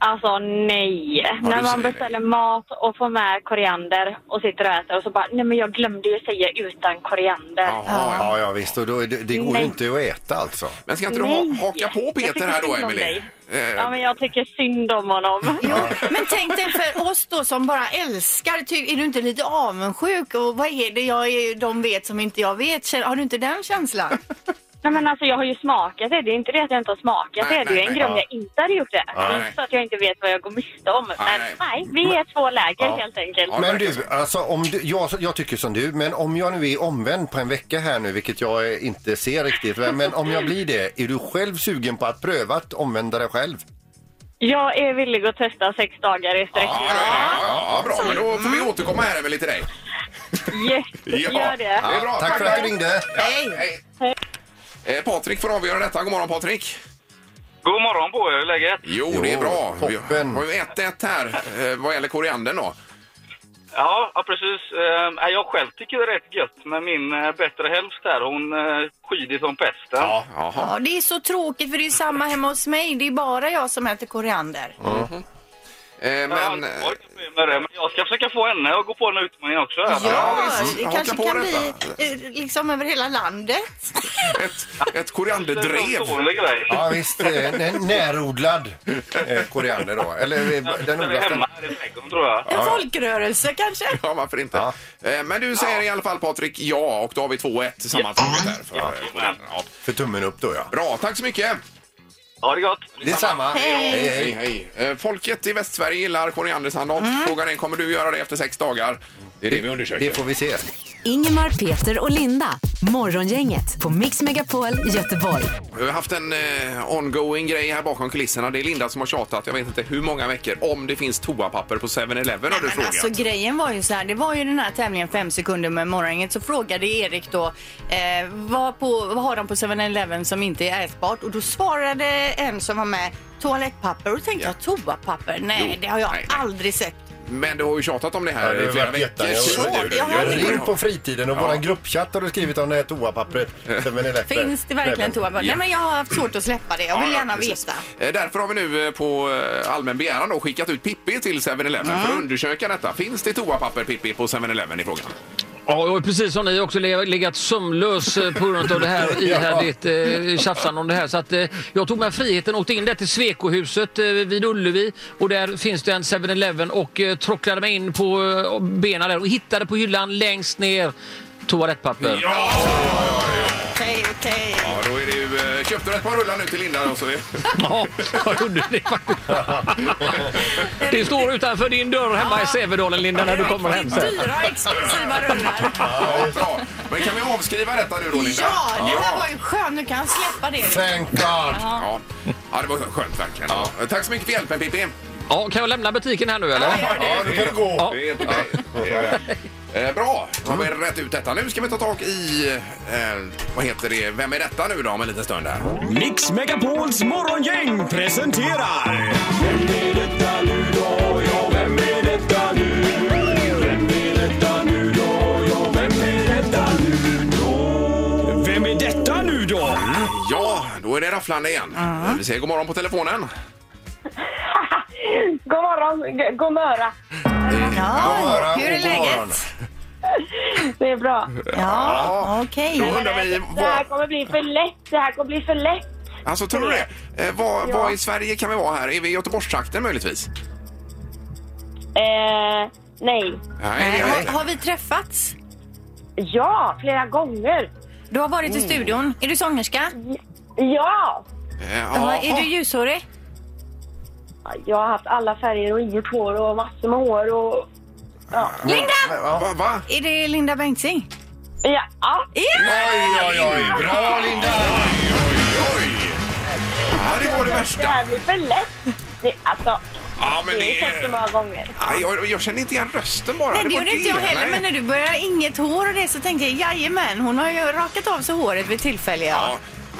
[SPEAKER 7] Alltså nej.
[SPEAKER 1] du
[SPEAKER 7] När
[SPEAKER 1] säger
[SPEAKER 7] man beställer mat och får med koriander och sitter och äter och så bara, nej men jag glömde ju säga utan koriander.
[SPEAKER 1] Jaha, ja.
[SPEAKER 3] Ja, ja visst. Och då, är det, det går ju
[SPEAKER 7] Nej.
[SPEAKER 3] inte att äta alltså.
[SPEAKER 1] Men ska inte du
[SPEAKER 7] Nej.
[SPEAKER 1] ha- haka på
[SPEAKER 7] Jag
[SPEAKER 1] Peter
[SPEAKER 7] tycker
[SPEAKER 1] här då, Eh,
[SPEAKER 7] synd om
[SPEAKER 1] Emelie?
[SPEAKER 7] Ja men jag tycker synd om
[SPEAKER 1] (laughs)
[SPEAKER 7] honom.
[SPEAKER 2] Men tänk dig för oss då som bara älskar, ty- är du inte lite avundsjuk? Och vad är det jag är, de vet som inte jag vet? Kän- Har du inte den
[SPEAKER 1] (laughs)
[SPEAKER 2] känslan?
[SPEAKER 7] Nej men alltså jag har ju smakat det. Det är inte det att jag inte har smakat det.
[SPEAKER 1] Nej,
[SPEAKER 7] Det är ju en
[SPEAKER 1] nej, nej,
[SPEAKER 7] grej om
[SPEAKER 1] ja.
[SPEAKER 7] jag inte hade gjort det. Det är
[SPEAKER 1] Nej.
[SPEAKER 7] inte så att jag inte vet vad jag går miste om. Men
[SPEAKER 1] Nej.
[SPEAKER 7] nej, vi är två läger
[SPEAKER 3] Ja.
[SPEAKER 7] helt enkelt.
[SPEAKER 1] Ja, det
[SPEAKER 3] Men
[SPEAKER 1] verkar
[SPEAKER 3] du, alltså om du, jag, jag tycker som du, men om jag nu är omvänd på en vecka här nu, vilket jag eh, inte ser riktigt, men men om jag blir det, är du själv sugen på att pröva att omvända dig själv?
[SPEAKER 7] Jag är villig att testa sex dagar (laughs) i sträck.
[SPEAKER 1] Ja, då- ja, ja, bra. Men då får vi återkomma här Emelie till dig.
[SPEAKER 7] Yes, gör det.
[SPEAKER 1] är bra.
[SPEAKER 3] Tack för att du ringde.
[SPEAKER 1] Hej. Eh, Patrik får avgöra detta. God morgon Patrik.
[SPEAKER 10] God morgon på er, hur är läget?
[SPEAKER 1] Jo,
[SPEAKER 3] Jo,
[SPEAKER 1] det är bra.
[SPEAKER 3] toppen.
[SPEAKER 1] Vi har ju 1-1 här eh, vad gäller koriandern då.
[SPEAKER 10] Ja, ja precis. Ehm, nej, jag själv tycker det är rätt gött, men min eh, bättre hälft här, hon eh, skyr som pesten.
[SPEAKER 1] Ja, jaha.
[SPEAKER 2] Ja, det är så tråkigt för det är samma hemma hos mig. Det är bara jag som äter koriander.
[SPEAKER 1] Eh,
[SPEAKER 10] Ja,
[SPEAKER 1] men... eh,
[SPEAKER 10] jag har inte problem med det, men jag ska försöka få henne att gå på den här utmaningen också.
[SPEAKER 2] Ja,
[SPEAKER 1] visst. Mm.
[SPEAKER 2] det
[SPEAKER 1] Haka
[SPEAKER 2] kanske
[SPEAKER 1] på
[SPEAKER 2] kan bli
[SPEAKER 1] detta.
[SPEAKER 2] eh, liksom över hela landet.
[SPEAKER 1] Ett, ett
[SPEAKER 10] Det är en
[SPEAKER 1] korianderdrev.
[SPEAKER 10] dålig grej.
[SPEAKER 3] Ja visst, eh, n- närodlad eh, koriander då. Eller eh, den
[SPEAKER 10] Den är
[SPEAKER 3] odlas den.
[SPEAKER 10] hemma här i trädgården, tror jag.
[SPEAKER 2] En folkrörelse kanske?
[SPEAKER 1] Ja, varför inte?
[SPEAKER 3] Ja.
[SPEAKER 1] Eh, Men du säger i alla fall Patrik ja och då har vi 2-1 sammantaget här. För, eh, koriander. ja.
[SPEAKER 3] För tummen upp då ja.
[SPEAKER 1] Bra, tack så mycket.
[SPEAKER 10] Ha det gott!
[SPEAKER 3] Detsamma. Hej,
[SPEAKER 1] Hej,
[SPEAKER 3] hej.
[SPEAKER 1] hej. Eh, Folket i Västsverige gillar koriandersalat. Frågan är, kommer du göra det efter sex dagar? Det är det vi undersöker.
[SPEAKER 3] Det får vi se.
[SPEAKER 5] Ingemar, Peter och Linda. Morgongänget på Mix Megapol Göteborg.
[SPEAKER 1] Vi har haft en eh, ongoing grej här bakom kulisserna. Det är Linda som har tjatat, jag vet inte hur många veckor, om det finns toapapper på 7-Eleven har du
[SPEAKER 2] Men
[SPEAKER 1] frågat.
[SPEAKER 2] alltså grejen var ju så här, det var ju den här tävlingen fem sekunder med morgonen så frågade Erik då eh, vad, på, vad har de på 7-Eleven som inte är ätbart? Och då svarade en som var med toalettpapper och då tänkte
[SPEAKER 1] Ja.
[SPEAKER 2] jag toapapper. Nej,
[SPEAKER 1] Jo,
[SPEAKER 2] det har jag
[SPEAKER 1] nej, nej.
[SPEAKER 2] aldrig sett.
[SPEAKER 1] Men du har ju tjatat om det här
[SPEAKER 3] Ja, det
[SPEAKER 1] i
[SPEAKER 3] har
[SPEAKER 1] flera
[SPEAKER 3] varit
[SPEAKER 1] veckor.
[SPEAKER 3] jätte-
[SPEAKER 1] Så
[SPEAKER 2] Ja,
[SPEAKER 1] du- du-
[SPEAKER 2] jag har
[SPEAKER 1] du-
[SPEAKER 2] aldrig-
[SPEAKER 1] du-
[SPEAKER 3] Ring på fritiden och våran gruppchatt har du skrivit om det här toapappret. Som en elektro-
[SPEAKER 2] Finns det verkligen toapapper?
[SPEAKER 1] Ja.
[SPEAKER 2] Nej, men jag har haft svårt att släppa det. Jag vill
[SPEAKER 1] Ja, ja,
[SPEAKER 2] gärna
[SPEAKER 1] precis.
[SPEAKER 2] veta.
[SPEAKER 1] Eh, Därför har vi nu eh, på eh, allmän begäran då skickat ut Pippi till 7-Eleven för att undersöka detta. Finns det toapapper Pippi på 7-Eleven i frågan?
[SPEAKER 11] Ja, och precis som ni också le- legat sömnlös eh, på grund av det här ihärdigt eh, tjafsande om det här. Så att, eh, jag tog mig friheten och åkte in där till Svekohuset eh, vid Ullevi och där finns det en 7-Eleven och eh, trocklade mig in på eh, benen där och hittade på hyllan längst ner toalettpapper.
[SPEAKER 1] Ja!
[SPEAKER 2] Okej, okej.
[SPEAKER 1] ja då är det ju, eh, köpte du ett par rullar nu till Linda? Och så är...
[SPEAKER 11] Ja, jag gjorde det faktiskt. Det står utanför din dörr hemma i Sävedalen, Linda, när du kommer hem sen.
[SPEAKER 2] Dyra exklusiva rullar.
[SPEAKER 1] ja, bra. Men kan vi avskriva detta nu då Linda?
[SPEAKER 2] Ja, det här var ju skönt. Nu kan jag släppa det.
[SPEAKER 3] Thank God!
[SPEAKER 1] Ja. ja, det var skönt verkligen. Ja. Tack så mycket för hjälpen Pippi.
[SPEAKER 11] Ja, kan jag lämna butiken här nu eller?
[SPEAKER 3] Ja, nu kan det gå.
[SPEAKER 1] Det är helt okej. Ja, ja. Eh, bra, då har vi rätt ut detta. Nu ska vi ta tag i, eh, vad heter det, vem är detta nu då om en liten stund här?
[SPEAKER 12] Mix Megapols morgongäng presenterar... Vem är detta nu då? Ja, vem är detta nu? Vem är detta nu då? Ja, vem är detta nu då? Vem är detta nu då?
[SPEAKER 1] Ja, då är det rafflande igen. Eh, Vi säger god morgon på telefonen. Eh,
[SPEAKER 8] God morgon, g- god möra.
[SPEAKER 1] Ja,
[SPEAKER 2] hur är
[SPEAKER 1] god morgon.
[SPEAKER 8] Det är bra.
[SPEAKER 1] Ja,
[SPEAKER 2] okej.
[SPEAKER 1] Då undrar vi
[SPEAKER 8] Det här kommer bli för lätt. Det här kommer bli för lätt.
[SPEAKER 1] Alltså tror du det? Eh, var,
[SPEAKER 8] Ja.
[SPEAKER 1] var i Sverige kan vi vara här? Är vi i Göteborgstrakten möjligtvis?
[SPEAKER 8] Eh, nej.
[SPEAKER 1] Nej, det är vi inte.
[SPEAKER 4] Har, har vi träffats?
[SPEAKER 8] Ja, flera gånger.
[SPEAKER 4] Du har varit i
[SPEAKER 1] Oh.
[SPEAKER 4] studion. Är du sångerska?
[SPEAKER 8] Ja!
[SPEAKER 1] Eh,
[SPEAKER 4] Ja,
[SPEAKER 1] jaha.
[SPEAKER 4] är du ljushårig?
[SPEAKER 8] Jag har haft alla färger och inget hår och massor med hår och... Ja.
[SPEAKER 1] Linda! Va? va?
[SPEAKER 4] Är det Linda Bengtzing?
[SPEAKER 8] Ja.
[SPEAKER 1] Oj, oj, oj! Bra, Linda! Oj, oj, oj! Ja, det var det värsta.
[SPEAKER 8] Det här blir för lätt. Det, alltså,
[SPEAKER 1] Ja, men
[SPEAKER 8] det
[SPEAKER 1] det
[SPEAKER 8] är så
[SPEAKER 1] är...
[SPEAKER 8] många gånger.
[SPEAKER 1] Aj, jag, jag känner inte igen rösten bara.
[SPEAKER 4] Nej,
[SPEAKER 1] var
[SPEAKER 4] det gjorde inte jag heller.
[SPEAKER 1] nej.
[SPEAKER 4] Men när du började inget hår och det så tänkte jag jajamän, hon har ju rakat av sig håret vid tillfälle. Ja.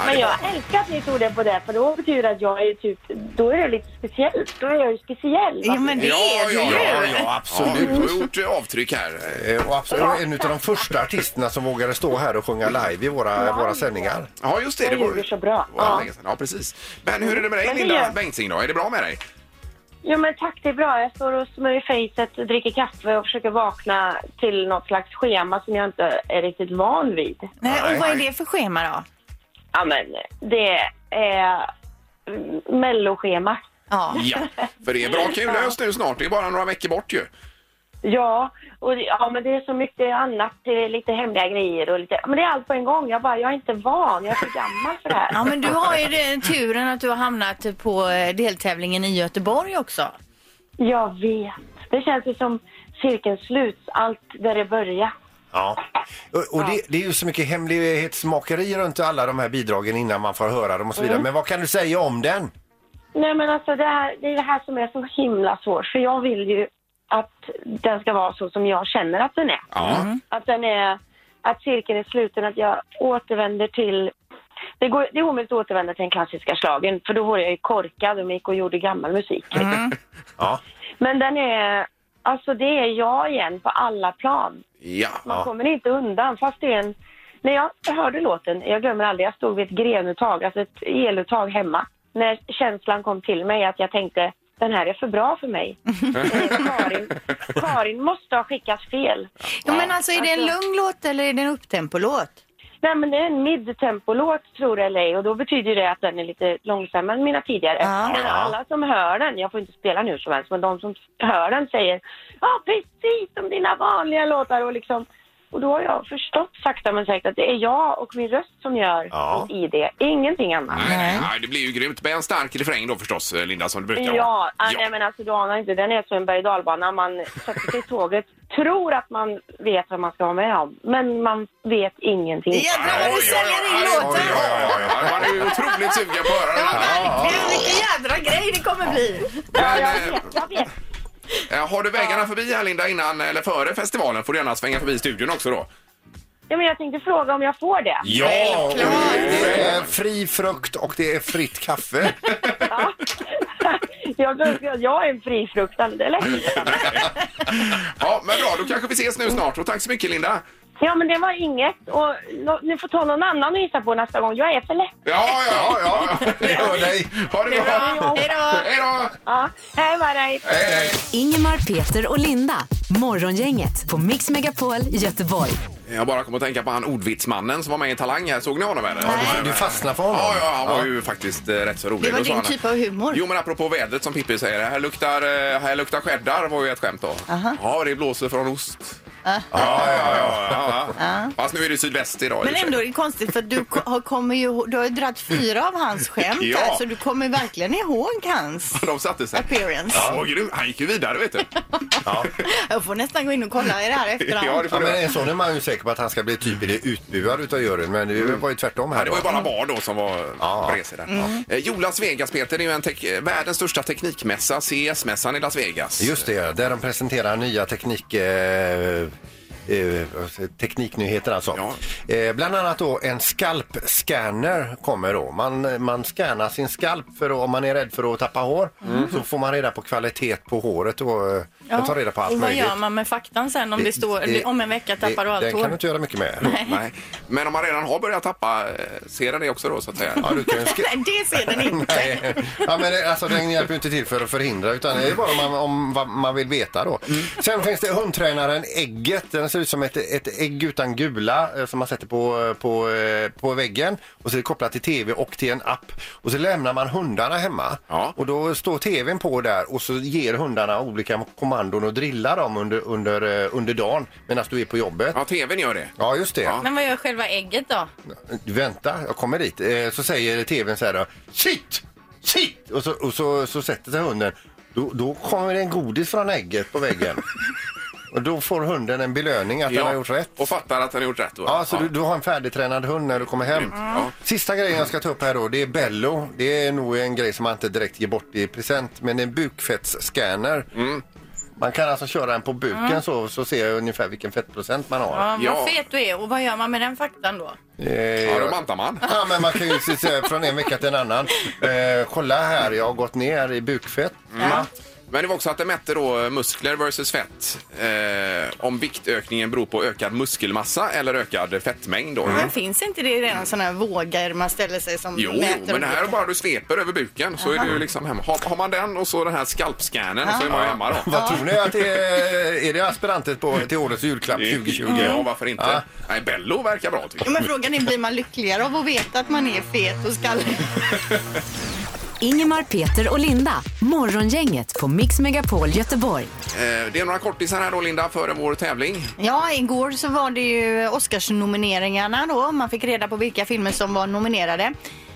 [SPEAKER 8] Men jag älskar att ni tog det på det, för då betyder det att jag är typ... Då är det lite speciellt. Då är jag ju speciell. va?
[SPEAKER 1] ja, ja, ja, ja, absolut.
[SPEAKER 3] Mm.
[SPEAKER 1] Du har gjort eh, avtryck här.
[SPEAKER 3] Eh, Och absolut, en av de första artisterna som vågade stå här och sjunga live i våra, våra sändningar.
[SPEAKER 1] Ja, just det. Det var
[SPEAKER 8] så bra.
[SPEAKER 1] Ja. länge sedan. ja, precis. Men hur är det med dig,
[SPEAKER 8] Men det
[SPEAKER 1] Linda
[SPEAKER 8] gör-
[SPEAKER 1] Bengtzing? Då? Är det bra med dig?
[SPEAKER 8] Jo men tack, det är bra. Jag står och smörjer fejset, dricker kaffe och försöker vakna till något slags schema som jag inte är riktigt van vid.
[SPEAKER 4] Nej, och vad är det för schema då?
[SPEAKER 8] Ja men det är mm, melloschema.
[SPEAKER 4] Ja.
[SPEAKER 1] För det är bra kul höst nu snart. Det är bara några veckor bort ju.
[SPEAKER 8] Ja, och det, ja, men det är så mycket annat. Det är lite hemliga grejer och lite... Men det är allt på en gång. Jag bara, jag är inte van. Jag är för gammal för det här.
[SPEAKER 4] Ja, men du har ju den turen att du har hamnat på eh, deltävlingen i Göteborg också.
[SPEAKER 8] Jag vet. Det känns ju som cirkeln sluts, allt där det börjar.
[SPEAKER 3] Ja. Och, och det, det är ju så mycket hemlighetsmakeri runt alla de här bidragen innan man får höra dem och så vidare.
[SPEAKER 8] Mm.
[SPEAKER 3] Men vad kan du säga om den?
[SPEAKER 8] Nej men alltså det, här, det är det här som är så himla svårt. För jag vill ju att den ska vara så som jag känner att den är. Att den är, att cirkeln är sluten, att jag återvänder till det, går, det är omöjligt att återvända till den klassiska slagen för då vore jag ju korkad om jag gick och gjorde gammal musik.
[SPEAKER 3] Ja.
[SPEAKER 8] Men den är, alltså det är jag igen på alla plan.
[SPEAKER 1] Ja.
[SPEAKER 8] Man kommer inte undan fast det är en... När jag hörde låten, jag glömmer aldrig, jag stod vid ett grenuttag, alltså ett eluttag hemma. När känslan kom till mig att jag tänkte, den här är för bra för mig. Karin, Karin måste ha skickat fel.
[SPEAKER 4] Ja, men alltså är det en lugn låt eller är det en upptempolåt?
[SPEAKER 8] Nej men det är en midtempolåt tror jag eller ej och då betyder ju det att den är lite långsammare än mina tidigare. Men alla som hör den, jag får inte spela nu som helst, men de som hör den säger ja precis som dina vanliga låtar och liksom och då har jag förstått sakta men säkert att det är jag och min röst som gör
[SPEAKER 1] Ja. Mm.
[SPEAKER 8] i det, ingenting annat.
[SPEAKER 1] Nej. Nej, det blir ju grymt. Med en stark refräng då förstås, eh, Linda, som det brukar
[SPEAKER 8] Ja,
[SPEAKER 1] vara.
[SPEAKER 8] ah, nej men alltså du anar inte, den är som en berg och dalbana. Man sätter sig i tåget, tror att man vet vad man ska ha med om, men man vet ingenting.
[SPEAKER 4] Jädrar vad du säljer in
[SPEAKER 1] Oj,
[SPEAKER 4] låten!
[SPEAKER 1] oj, oj, oj, oj. Man är ju otroligt sugen på att höra det här.
[SPEAKER 4] Verkligen, vilken jädra grej det kommer bli!
[SPEAKER 1] Eh, Har du vägarna förbi här, Linda, innan eller före festivalen får du gärna svänga förbi studion också då.
[SPEAKER 8] Ja, men jag tänkte fråga om jag får det.
[SPEAKER 3] och det är fri frukt och det är fritt kaffe.
[SPEAKER 8] (laughs) Jag tror att jag är en frifruktande, eller?
[SPEAKER 1] (laughs) Ja, men bra. Då kanske vi ses nu snart. Och tack så mycket, Linda.
[SPEAKER 8] Ja, men det var inget. Och nå- ni får ta någon annan att gissa på nästa gång. Jag är för lätt.
[SPEAKER 1] Ja, ja, ja. ja. Jag hör dig. Ha det bra.
[SPEAKER 8] Hej
[SPEAKER 1] då! Hej då!
[SPEAKER 8] Ja, hej med dig!
[SPEAKER 5] Ingemar, Peter och Linda. Morgongänget på Mix Megapol Göteborg.
[SPEAKER 1] Jag bara kom att tänka på han ordvitsmannen som var med i Talang här. Såg ni honom eller?
[SPEAKER 3] Nej. Du fastnade för honom?
[SPEAKER 1] Ja, ja han var ju faktiskt eh, rätt så rolig.
[SPEAKER 2] Det var
[SPEAKER 1] Då sa
[SPEAKER 2] din
[SPEAKER 1] han-
[SPEAKER 2] typ av humor.
[SPEAKER 1] (laughs) Jo men apropå vädret som Pippi säger, här luktar, eh, här luktar cheddar var ju ett skämt då.
[SPEAKER 2] Aha.
[SPEAKER 1] Ja, det blåser från ost.
[SPEAKER 2] Ah.
[SPEAKER 1] Ja, ja, ja, ja, ja. Fast nu är det sydväst idag. i
[SPEAKER 2] Men
[SPEAKER 1] och för sig.
[SPEAKER 2] ändå är det konstigt för du ko- har, kommer ju, du har ju dragit fyra av hans skämt
[SPEAKER 1] Ja.
[SPEAKER 2] här, så du kommer verkligen ihåg hans.
[SPEAKER 1] De satte sig.
[SPEAKER 2] Appearance.
[SPEAKER 1] Ja, vad grym. Han gick ju
[SPEAKER 2] (laughs)
[SPEAKER 1] vidare vet du.
[SPEAKER 2] Jag får nästan gå in och kolla i det här efterhand.
[SPEAKER 3] Ja, men en sån är man ju säker på att han ska bli typ i det utbuad utav juryn. Men det var ju tvärtom här.
[SPEAKER 1] Ja, det var ju bara bar då som var ja. på resor där.
[SPEAKER 3] Mm.
[SPEAKER 1] Eh, Jo, Las Vegas Peter, det är ju en tek- världens största teknikmässa, CES-mässan i Las Vegas.
[SPEAKER 3] Just det, där de presenterar nya teknik... Eh, eh, alltså, tekniknyheter alltså. Eh, bland annat då en skalpscanner kommer då. Man, man scannar sin skalp för att- om man är rädd för att tappa hår
[SPEAKER 2] Mm.
[SPEAKER 3] så får man reda på kvalitet på håret och eh,
[SPEAKER 2] Ja.
[SPEAKER 3] jag tar reda på allt
[SPEAKER 2] och vad
[SPEAKER 3] möjligt.
[SPEAKER 2] gör man med faktan sen om det,
[SPEAKER 3] Det-
[SPEAKER 2] står
[SPEAKER 3] det-
[SPEAKER 2] om en vecka tappar du allt hår?
[SPEAKER 3] göra mycket med.
[SPEAKER 2] Nej.
[SPEAKER 1] Men om man redan har börjat tappa, eh, ser den det också då så att säga?
[SPEAKER 3] Ja, du kan ju sk-
[SPEAKER 2] Nej, det ser den
[SPEAKER 3] (laughs)
[SPEAKER 2] inte.
[SPEAKER 3] Nej. Ja, men det- alltså, den hjälper ju inte till för att förhindra utan det är bara om man, om vad man vill veta då. Sen finns det hundtränaren Ägget. Den ser ut som ett, ett ägg utan gula eh, som man sätter på, på, eh, på väggen och så är det kopplat till tv och till en app. Och så lämnar man hundarna hemma och då står tvn på där och så ger hundarna olika kommandon och drillar dem under, under, eh, under dagen medan du är på jobbet.
[SPEAKER 1] Ja, tvn gör det.
[SPEAKER 3] Ja, just det.
[SPEAKER 4] Men vad gör själva ägget då?
[SPEAKER 3] Vänta, jag kommer dit. Eh, Så säger tvn så här då. Shit! Shit! Och så, och så, så sätter sig hunden. Då, då kommer det en godis från ägget på väggen. och då får hunden en belöning att den har gjort rätt.
[SPEAKER 1] Och fattar att den har gjort rätt då?
[SPEAKER 3] Ja, så Du, du har en färdigtränad hund när du kommer hem. Sista grejen jag ska ta upp här då, det är Bello. Det är nog en grej som man inte direkt ger bort i present, men en bukfettsscanner. Man kan alltså köra den på buken
[SPEAKER 4] Mm.
[SPEAKER 3] så, så ser jag ungefär vilken fettprocent man har.
[SPEAKER 4] Ja, vad fet du är och vad gör man med den faktan då?
[SPEAKER 3] Ja,
[SPEAKER 1] då bantar man.
[SPEAKER 3] (laughs) Ja, men man kan ju se- se från en vecka till en annan. Eh, kolla här, jag har gått ner i bukfett.
[SPEAKER 1] Ja. Men det var också att det mätte då muskler versus fett. Eh, om viktökningen beror på ökad muskelmassa eller ökad fettmängd. Då.
[SPEAKER 2] Men finns inte det redan sådana här vågor man ställer sig som
[SPEAKER 1] Jo,
[SPEAKER 2] mäter?
[SPEAKER 1] men det här är
[SPEAKER 2] olika?
[SPEAKER 1] bara du sveper över buken så är
[SPEAKER 2] Jaha.
[SPEAKER 1] du ju liksom hemma. Har, har man den och så den här skalpscannen så är man ju hemma då.
[SPEAKER 3] Vad tror ni att det är, är det aspirantet på, till årets julklapp 2020?
[SPEAKER 1] Ja, varför inte?
[SPEAKER 3] Ja.
[SPEAKER 1] Nej, Bello verkar bra tycker
[SPEAKER 2] Jo, men frågan är, blir man lyckligare av att veta att man är fet och skallig?
[SPEAKER 5] Ingemar, Peter och Linda. Morgongänget på Mix Megapol Göteborg.
[SPEAKER 1] jag. Eh, det är några kortisar här då Linda före vår tävling.
[SPEAKER 2] Ja, igår så var det ju Oscarsnomineringarna då. Man fick reda på vilka filmer som var nominerade.